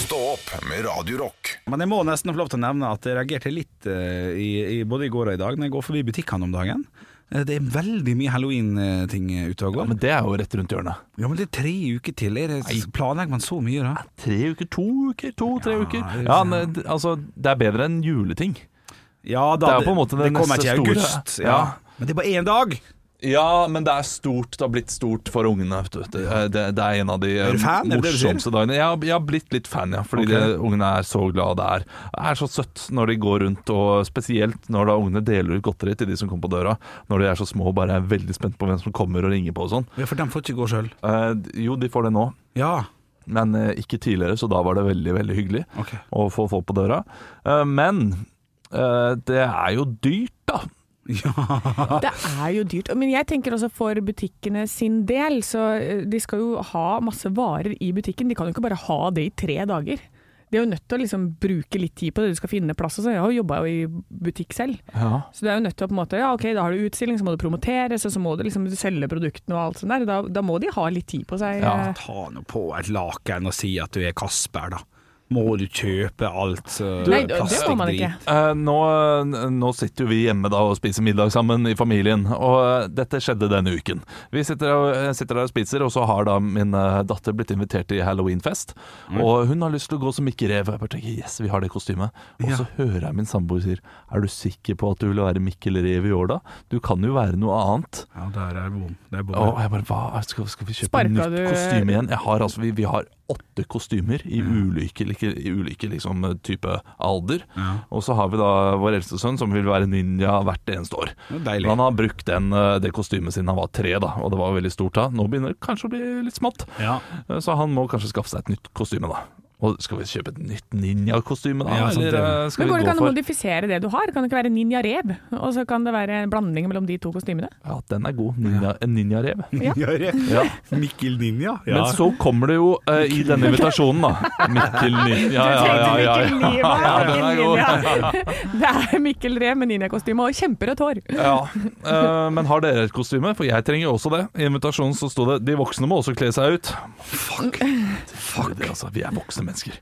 Stå opp med Radio Rock. Men jeg må nesten få lov til å nevne at jeg reagerte litt eh, i, i, både i går og i dag når jeg går forbi butikkene om dagen. Eh, Det er veldig mye halloween-ting eh, ute Ja, og går. men det er jo rett rundt hjørnet. Ja, men det er tre uker til. Er det, planlegger man så mye da? Tre uker, to uker, to-tre Ja, uker. det- Ja, men, eh, altså, det er bedre enn juleting. Ja, da, Det er på en måte det kommer neste ikke i store. august. Ja. Ja. Men det er bare én dag! Ja, men det er stort. Det har blitt stort for ungene. Vet du. Det, eh, det, det er en av de eh, du fan, er det det du sier? morsomste dagene. Jeg, har- jeg har blitt litt fan, ja. Fordi Ok. det, ungene er så glad det er. Det er så søtt når de går rundt, og spesielt når da ungene deler ut godteri til de som kommer på døra. Når de er så små og bare er veldig spent på hvem som kommer og ringer på og sånn. Ja, For de får ikke gå sjøl. Eh, jo, de får det nå, Ja. men eh, ikke tidligere, så da var det veldig, veldig hyggelig Ok. å få folk på døra. Eh, men eh, det er jo dyrt, da. Det er jo dyrt. Men jeg tenker også for butikkene sin del, så eh, de skal jo ha masse varer i butikken. De kan jo ikke bare ha det i tre dager. De er jo nødt til å liksom bruke litt tid på det, du skal finne plass og sånn. Jeg har jo jobba i butikk selv, Ja. så du er jo nødt til å på en måte Ja, OK, da har du utstilling, så må det promoteres, og så må du liksom selge produktene og alt sånt der. Da, da må de ha litt tid på seg. Ja. Ta nå på et laken og si at du er Kasper, da. Må du kjøpe alt uh, Nei, det det må man ikke. Eh, nå, nå sitter jo vi hjemme da og spiser middag sammen i familien, og eh, dette skjedde denne uken. Vi sitter, og, eh, sitter der og spiser, og så har da min eh, datter blitt invitert til halloweenfest. Og hun har lyst til å gå som Mikke Rev. Og jeg bare tenker yes, vi har det kostymet. Og så hører jeg min samboer sier er du sikker på at du vil være Mikkel Rev i år da? Du kan jo være noe annet. Ja, der er bom. Der er bom. Og jeg bare eh, hva, skal, skal vi kjøpe Sparka nytt du- kostyme igjen? Jeg har, altså, vi, vi har åtte kostymer i ulike, like, i ulike liksom, type alder. Og så har vi da vår eldste sønn som vil være ninja hvert eneste år. Det er deilig. Men Han har brukt den, eh, det kostymet siden han var tre, da, og det var veldig stort da. Nå begynner det kanskje å bli litt smått, Ja. Eh, så han må kanskje skaffe seg et nytt kostyme, da. Og skal vi kjøpe et nytt ninjakostyme, da? Ja, sant det. eller eh, skal Men vi går det gå ikke an å for modifisere det du har? Kan det ikke være ninja reb? Og så kan det være en blanding mellom de to kostymene? Ja, den er god. Ninja, En ninjarev. Ja. Mikkel Ninja? Men så kommer det jo eh, i denne invitasjonen, da. Mikkel Ninja. Ja, ja, ja, ja, ja. ja, den er god. Det er Mikkel Rev med ninjakostyme og kjemperødt hår. Ja. Eh, men har dere et kostyme? For jeg trenger jo også det. I invitasjonen så sto det 'de voksne må også kle seg ut'. Fuck. Fuck. Det, altså, vi er voksne mennesker.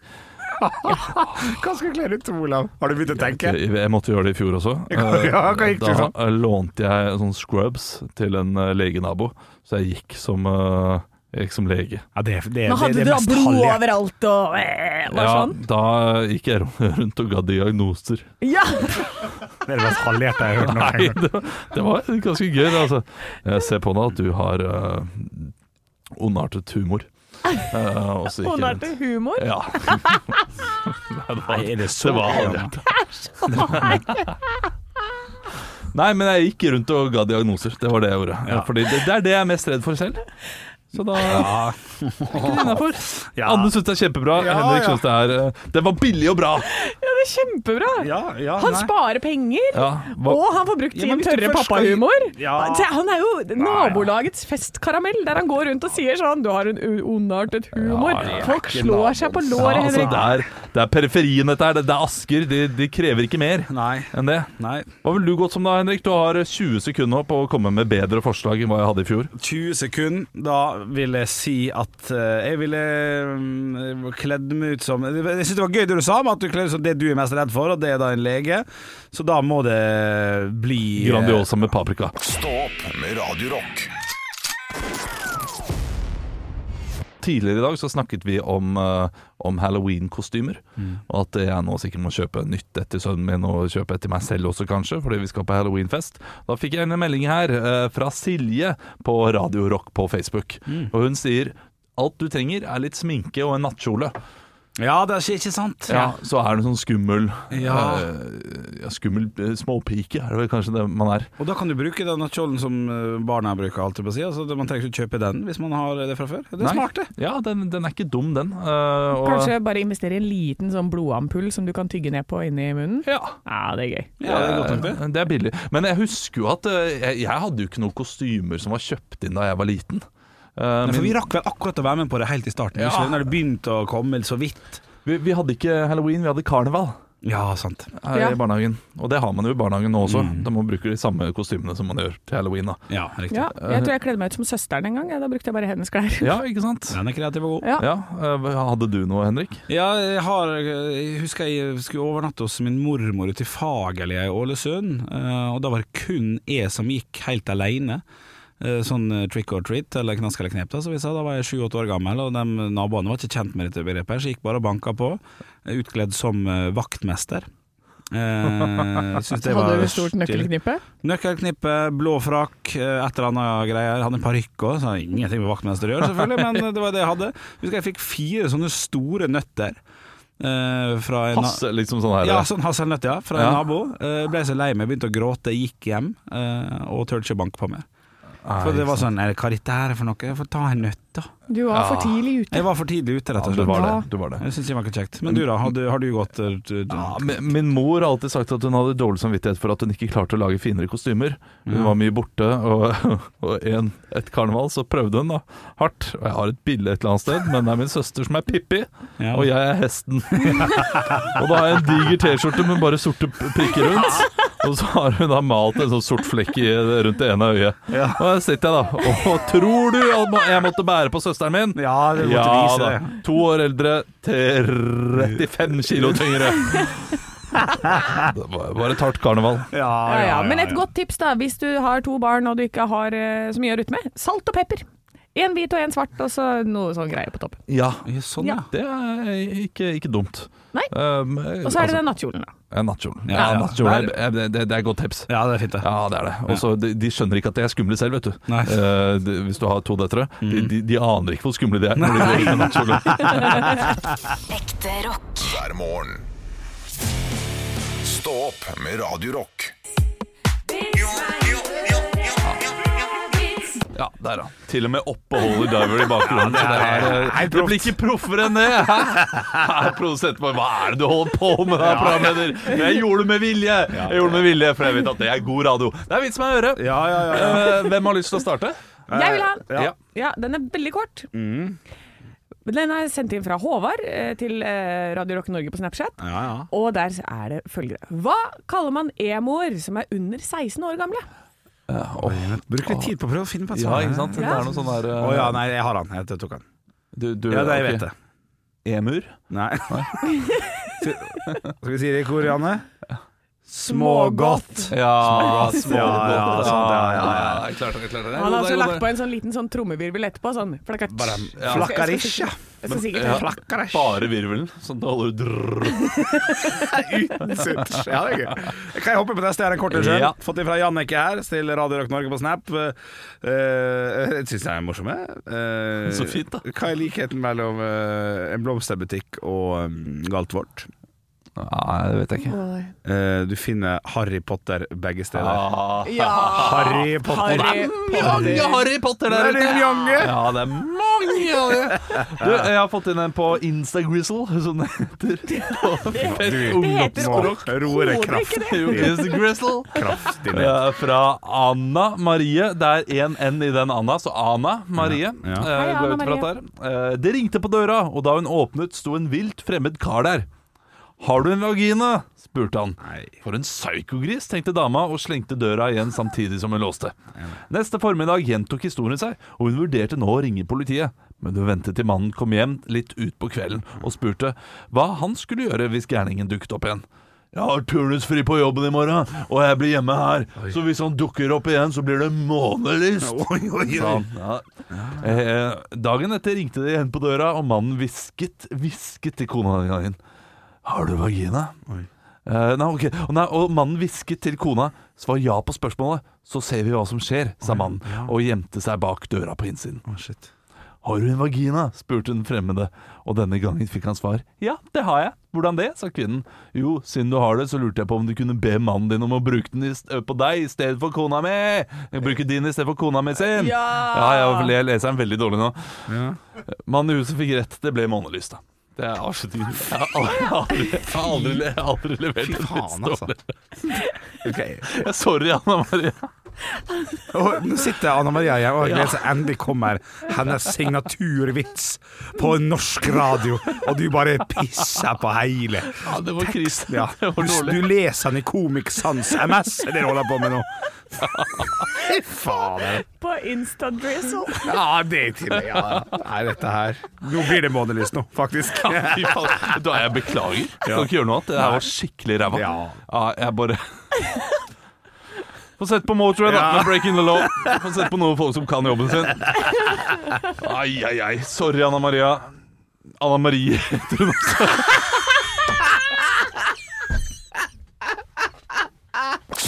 Hva skal jeg kle deg ut, Olav? Har du begynt å tenke? Jeg, jeg måtte gjøre det i fjor også. Ja, hva gikk du da for? eh, lånte jeg sånn scrubs til en eh, legenabo, så jeg gikk som, eh, jeg gikk som lege. Ja, det, det, Men hadde det, du det da mest blod hallige. overalt og eh, var det sånn? da gikk jeg rundt og ga diagnoser. Ja! Det er det mest halvhjerte jeg har hørt noen Nei, gang. det var, det var ganske gøy. det, Altså. Jeg ser på deg at du har eh, ondartet humor. Eh, og så gikk jeg rundt. Ondartet humor. Ja. Nei, det var, det var halvhjertet. Nei, men jeg gikk rundt og ga diagnoser. Det var det jeg gjorde. Ja. Fordi det, det er det jeg er mest redd for selv. Så da Ja. innafor. Ja. Anne syns det er kjempebra. Ja, Henrik ja. syns det er eh, Det var billig og bra! Ja, det er kjempebra. Ja, ja, Han nei. sparer penger, Ja, hva, og han får brukt Ja, men sin hvis du tørre først skal- pappahumor. Ja. Se, Han er jo nabolagets festkaramell, der han går rundt og sier sånn Du har en u- ondartet humor. Ja, det er Folk slår seg på ja, låret, altså, Henrik. det, er, det er periferien, dette her. Det, det er Asker. De, de krever ikke mer Nei. enn det. Nei. Hva ville du gått som da, Henrik? Du har 20 sekunder nå på å komme med bedre forslag enn hva jeg hadde i fjor. 20 sekunder, da vil jeg si at eh, jeg ville mm, kledd meg ut som Jeg syns det var gøy det du sa, om at du kledde deg ut som det du er mest redd for, og det er da en lege. Så da må det bli eh, Grandiosa med paprika. Stå opp med Radio Rock. Tidligere i dag så snakket vi om, eh, om halloween-kostymer. Og at jeg nå sikkert må kjøpe nytt etter sønnen min, og kjøpe etter meg selv også kanskje, fordi vi skal på halloweenfest. Da fikk jeg en melding her eh, fra Silje på Radio Rock på Facebook. Og hun sier alt du trenger er litt sminke og en nattkjole. eh, Ja, det er ikke sant? Ja, så er du sånn skummel Ja. eh, ja, Skummel eh, småpike er det vel kanskje det man er. Og da kan du bruke den nattkjolen som eh, barna bruker, holdt jeg på å si. Altså, det- man trenger ikke kjøpe den hvis man har det fra før. Det er Nei. smart, det. Ja, den, den er ikke dum, den. Eh, og, Kanskje bare investere i en liten sånn blodampull som du kan tygge ned på inni munnen? Ja. Ja, det er gøy. Ja, det er godt nok det. Eh, Det er billig. Men jeg husker jo at eh, jeg, jeg hadde jo ikke noen kostymer som var kjøpt inn da jeg var liten. Eh, Nei, for min- vi rakk vel akkurat å være med på det helt i starten. Ja. Ikke sant? Når det begynte å komme så vidt. vi, vi hadde ikke halloween, vi hadde karneval Ja, sant. her Ja. i barnehagen. Og det har man jo i barnehagen nå også. Mm. Da må man bruke de samme kostymene som man gjør til halloween. da Ja, riktig. Ja, jeg tror jeg kledde meg ut som søsteren en gang. Ja, da brukte jeg bare hennes klær. Ja, ikke sant? Den er kreativ og god. Ja. Ja, eh, Hadde du noe, Henrik? Ja, jeg, har, jeg husker jeg skulle overnatte hos min mormor ute i Fagerlia i Ålesund. eh, Og da var det kun jeg som gikk helt alene. Eh, Sånn eh, trick or treat, eller knask eller knep, da, som vi sa. Da var jeg sju-åtte år gammel, og de naboene var ikke kjent med dette begrepet, her, så jeg gikk bare og banka på. eh, Utkledd som eh, vaktmester. Eh, synes det var Hadde du stort stilig. nøkkelknippe? Nøkkelknippe, blå frakk, eh, et eller annet greier. Hadde en parykk òg, så hadde ingenting med vaktmester å gjøre, selvfølgelig, men eh, det var det jeg hadde. Husker jeg fikk fire sånne store nøtter eh, fra en Passe, liksom sånn her Ja, sånn hasselnøtt, ja, fra en Ja. nabo. Eh, ble så lei meg, begynte å gråte, gikk hjem eh, og turte ikke banke på meg. eh, For det var sånn "Er det- Hva er dette her for noe? Jeg får ta en nøtt, da. Du var for tidlig ute. Jeg var for tidlig ute, ja, rett og du slett. var det. Du var det. Jeg syns det var ikke kjekt. Men du, da? Har du, har du gått eh, du- du- Ja, men- min mor har alltid sagt at hun hadde dårlig samvittighet for at hun ikke klarte å lage finere kostymer. Hun Ja. var mye borte, og, og en, et karneval så prøvde hun da hardt. Og jeg har et bilde et eller annet sted, men det er min søster som er Pippi, Ja. og jeg er hesten. og da har jeg en diger T-skjorte med bare sorte p- prikker rundt. Og så har hun da malt en sånn sort flekk i, rundt det ene øyet. Og der sitter jeg da. Og tror du at må- jeg måtte bære på søsteren min? Ja, du måtte Ja vise da. det. To år eldre, 35 kilo tyngre. Det var var et hardt karneval. Ja, Ja, ja. Men et godt tips da, hvis du har to barn og du ikke har eh, så mye å rutte med. Salt og pepper. En hvit og en svart, og så noe sånn greie på toppen. Ja. Ja, Sånn, Ja. ja. Det er ikke, ikke dumt. Nei. Um, Og så er det altså, den nattkjolen, da. en nattkjole. Ja, Ja, ja. nattkjole er- er- det, det, det er godt tips. Ja, det er fint, det. Ja, det er det. Og så de, de skjønner ikke at de er skumle selv, vet du. Nei. Mm. Eh, de, hvis du har to døtre. De, de, de aner ikke hvor skumle de er når de går ut med nattkjole. Ekte rock. hver morgen. Stå opp med Radio Rock. Ja, der, ja. Til og med oppeholder diver i bakgrunnen. det, er, eh, det blir ikke proffere enn det! Hæ? Her, Produsenten bare Hva er det du holder på med, da, programleder? Men Jeg gjorde det med vilje! Jeg gjorde det med vilje, For jeg vet at det er god radio. Det er vits med å høre. Ja, ja, ja. Eh, Hvem har lyst til å starte? Jeg vil ha den! Altså- ja. Ja. den er veldig kort. Mm, Den er sendt inn fra Håvard eh, til eh, Radio Rock Norge på Snapchat. ja, ja. Og der er det følgende. Hva kaller man emoer som er under 16 år gamle? Bruk litt tid på å prøve å finne på et Ja, svar. ikke sant? Det er noe sånn der Å eh, ja, nei, jeg har han. Jeg tok han. du, du, Ja, det jeg ok. vet det. Emur? Nei. Skal vi si det i kor, Janne? Smågodt. Ja, smågodt. Ja, Ja, ja, sant, ja, ja, ja, ja. Jeg klarte det, jeg klarte det. Han har Jo, altså det er lagt godt, på en sånn liten sånn trommevirvel etterpå. Sånn. Flakka- Ja. Flakkarisj, ja. Jeg skal det. sikkert Ja, flakka. bare virvelen, sånn at det holder drrrr. Sutsj. Ja, det er gøy. Jeg Kan jeg hoppe på neste? Jeg har en kort en sjøl. Ja. Fått den fra Jannicke her, til Radio Rock Norge på Snap. Eh, eh, Jeg syns de er morsomme. Eh, Så fint, da. Hva er likheten mellom eh, en blomsterbutikk og um, galt vårt? Nei, det vet jeg ikke. Eh, Du finner Harry Potter begge steder. Ah. Ja. Harry Potter. Harry Mange Potter. Harry Potter der Det er de mange. Ja, det er mange av det. Du, jeg har fått inn en på Instagrizzle, som det heter. På fett ungdomsspråk. Roere kraft. Jo, Instagrizzle. Kraftig ned. Eh, Fra Anna Marie. Det er én N i den Anna, så Ana Marie. Ja. eh, Hei, går jeg Anna ut fra at det er. Eh, Det ringte på døra, og da hun åpnet, sto en vilt fremmed kar der. Har du en vagina? spurte han. Nei. For en psykogris, tenkte dama og slengte døra igjen samtidig som hun låste. Neste formiddag gjentok historien seg, og hun vurderte nå å ringe politiet. Men hun ventet til mannen kom hjem litt utpå kvelden og spurte hva han skulle gjøre hvis gærningen dukket opp igjen. Jeg har turnusfri på jobben i morgen, og jeg blir hjemme her. Så hvis han dukker opp igjen, så blir det månelyst. Oi, oi, sa oi. han. Ja. Eh, dagen etter ringte det igjen på døra, og mannen hvisket, hvisket til kona den gangen. Har du vagina? Eh, nei, ok. Å, nei, og mannen hvisket til kona. Svar ja på spørsmålet, så ser vi hva som skjer, sa mannen, og gjemte seg bak døra på innsiden. Å, shit. 'Har du en vagina?' spurte den fremmede, og denne gangen fikk han svar. 'Ja, det har jeg.' 'Hvordan det?' sa kvinnen. 'Jo, siden du har det, så lurte jeg på om du kunne be mannen din om å bruke den i st- eh, på deg i stedet for kona mi.' Bruke din i stedet for kona mi sin. Ja! ja jeg leser den veldig dårlig nå. Mannen i huset fikk rett, det ble månelyst, da. Det er avslutningen. Jeg har aldri, jeg har aldri, jeg har aldri levert en Faen, vits altså. dårligere. Jeg er Sorry, Anna Maria. Og nå sitter Anna Maria her og gleder seg. Endelig kommer hennes signaturvits på norsk radio, og du bare pisser på hele. Ja, det var krise. Ja. Det Du, var dårlig. du leser den i Komiksans MS, det er det du holder på med nå. Fy faen. På Insta-drizzle. Ja, det er til ja. Nei, dette her Nå blir det månelyst nå, faktisk. Fy faen. Da er jeg beklager. Jeg kan ikke gjøre noe annet. Det her var skikkelig ræva. Ja. Ja, jeg bare Få sett på Motorhead, da. Ja. Med Breaking the Law. Få sett på noen folk som kan jobben sin. Ai, ai, ai. Sorry, Anna Maria. Anna Marie heter hun også.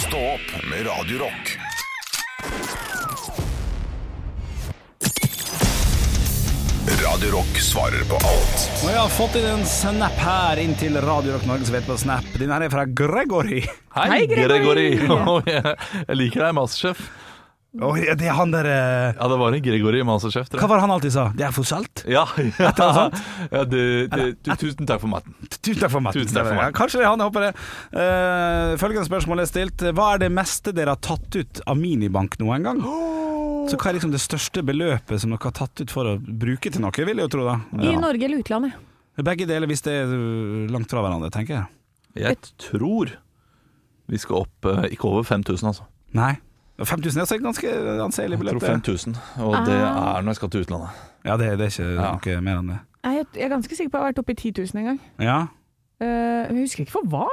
Stå opp med Radio Rock. Radio Rock svarer på alt. Og jeg har fått inn en snap her inn til Radio Rock Norge som vet på snap. Den her er fra Gregory. Hei, Hei, Gregory. Oi, jeg- Jeg liker deg, Masterchef. Å, ja, det er han der eh, Ja, det var en Gregory i Masterchef, tror Hva jeg. var det han alltid sa? Det er for salt? Ja, ja. ja du, du, du, tusen takk for maten. Tusen takk for maten. Tusen takk for maten. Ja, Kanskje det er han, jeg håper det. Eh, følgende spørsmål er stilt. Hva er det meste dere har tatt ut av minibank noen gang? Så hva er liksom det største beløpet som dere har tatt ut for å bruke til noe, vil jeg jo tro da. I Norge eller utlandet. Begge deler hvis det er øh, langt fra hverandre, tenker jeg. Jeg tror vi skal opp eh, ikke over 5000, altså. Nei. 5000 er altså et ganske anselig Jeg beløp. tror det. 5000, og det er når jeg skal til utlandet. Ja, det, det er ikke noe mer enn det. Jeg jeg er ganske sikker på at jeg har vært oppe i 10 000 en gang. Ja. Eh, men jeg husker ikke for hva.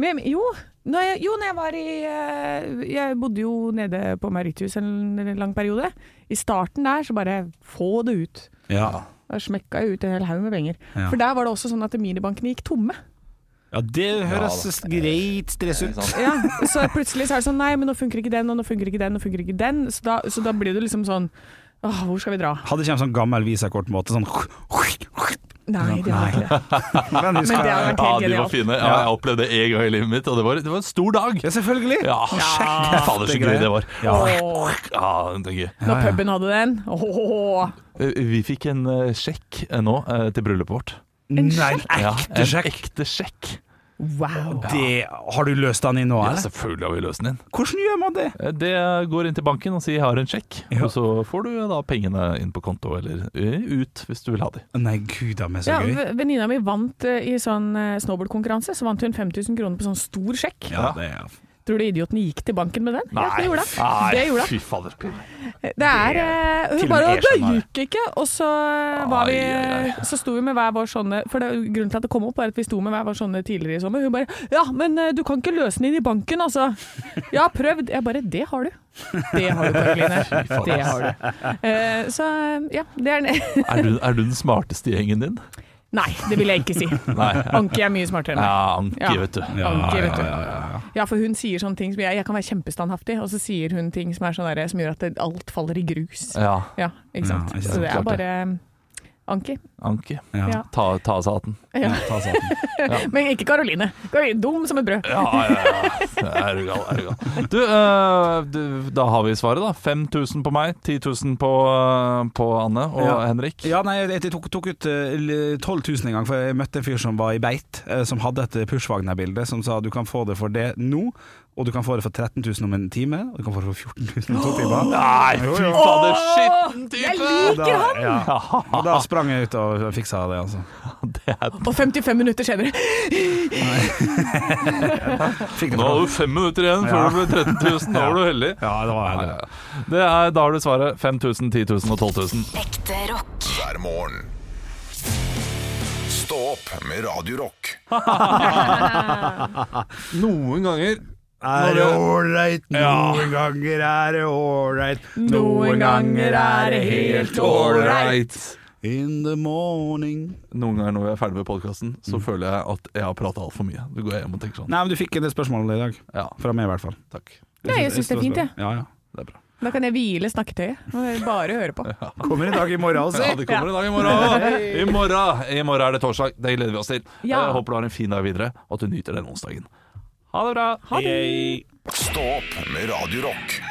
Men jeg- jo, når jeg, jo, når jeg var i eh, Jeg bodde jo nede på Mauritius en lang periode. I starten der så bare få det ut. Ja. Da smekka jeg ut en hel haug med penger. Ja. For der var det også sånn at minibankene gikk tomme. ja, det høres greit stress ut. Ja, så plutselig så er det sånn nei, men nå funker ikke den, og nå funker ikke den, og funker ikke den. Så da, så da blir det liksom sånn åh, hvor skal vi dra? Hadde ikke en sånn gammel visakortmåte, sånn Nei, det var ikke det. Men vi Men skal det hadde vært helt Ja, de var genialt. fine. Ja, jeg opplevde det en gang i livet mitt, og det var, det var en stor dag. Ja, selvfølgelig. Ja, sjekk. Fader, så gøy det var. Ja, Åh, det er gøy. når puben hadde den. Åh. Eh, Vi fikk en eh, sjekk eh, nå eh, til bryllupet vårt. Nei, Ja, ekte en sjekk. ekte sjekk. Wow. Det, har du løst den inn nå, Ja, eller? selvfølgelig har vi løst den inn. Hvordan gjør man det? Eh, Det går inn til banken og sier 'jeg har en sjekk', og så får du da pengene inn på konto, eller eh, ut hvis du vil ha de. Nei, gud, da, men så Ja, gøy. ve- Venninna mi vant eh, i sånn eh, snowboardkonkurranse. Så vant hun 5000 kroner på sånn stor sjekk. Ja, det er Tror du idioten gikk til banken med den? Ja, det gjorde hun. Det gjorde hun. fy fader. Det er eh, til Hun og bare med jeg Det skjønner det». gikk ikke! Og så, eh, var vi, Ai, ai, ai. så sto vi med hver vår sånne For det, Grunnen til at det kom opp, var at vi sto med hver vår sånne tidligere i sommer. Hun bare 'Ja, men eh, du kan ikke løse den inn i banken, altså'. 'Jeg har prøvd'. Jeg bare 'Det har du'. Det har du, Karoline. Det har du. Eh, så ja, det er en Er du, er du den smarteste i gjengen din? Nei, det vil jeg ikke si. Nei. Anki er mye smartere enn meg. Ja, Anki, Ja. vet du. Anki, vet du. Ja, for hun sier sånne ting som jeg, jeg kan være kjempestandhaftig, og så sier hun ting som, er sånn der, som gjør at det, alt faller i grus. Ja, Ja, ikke sant. Ja, ikke sant, så det er klart det. bare Anki. Anki. Ja. Ja. Ta, ta av seg hatten. Ja. Ta sånn. saten. Men ikke Karoline. Karoline dum som et brød. Ja, ja, ja. Er du gal, er du gal. Du, eh, du, da har vi svaret, da. 5000 på meg, 10 000 på, eh, på Anne og Ja. Henrik. Ja, nei, jeg jeg tok, tok ut eh, l- 12 000 en gang, for jeg møtte en fyr som var i beit, eh, som hadde et Pushwagner-bilde som sa du kan få det for det nå, og du kan få det for 13 000 om en time, og du kan få det for 14 000 om to timer. Nei, fy fader, skitten Jeg type! liker han! Ja. Og da sprang jeg ut og fiksa det, altså. Det er Og 55 minutter senere Fikk det Nå for har du fem minutter igjen før Ja. det blir 13 000. Da var du heldig. Ja, det var det. Det er, da har du svaret. 5000, 10 000 og 12 000. Ekte rock. hver morgen. Stå opp med Radio Rock. Noen ganger Er det ålreit? Noen ganger er det ålreit. Noen ganger er det helt ålreit. In the morning Noen ganger når vi er ferdig med podkasten, så Mm. føler jeg at jeg har prata altfor mye. Du går hjem og tenker sånn. Nei, men du fikk det spørsmålet i dag. Ja, Fra meg, i hvert fall. takk. Nei, jeg syns det er fint, jeg. Ja, ja. Det er bra. Da kan jeg hvile snakketøyet. Nå må jeg Bare høre på. Kommer i dag i morgen, altså. Ja, det kommer i dag i morgen. I morgen I morgen er det torsdag. Det gleder vi oss til. Ja. Jeg håper du har en fin dag videre, og at du nyter den onsdagen. Ha det bra. Ha det! Stå opp med Radio Rock.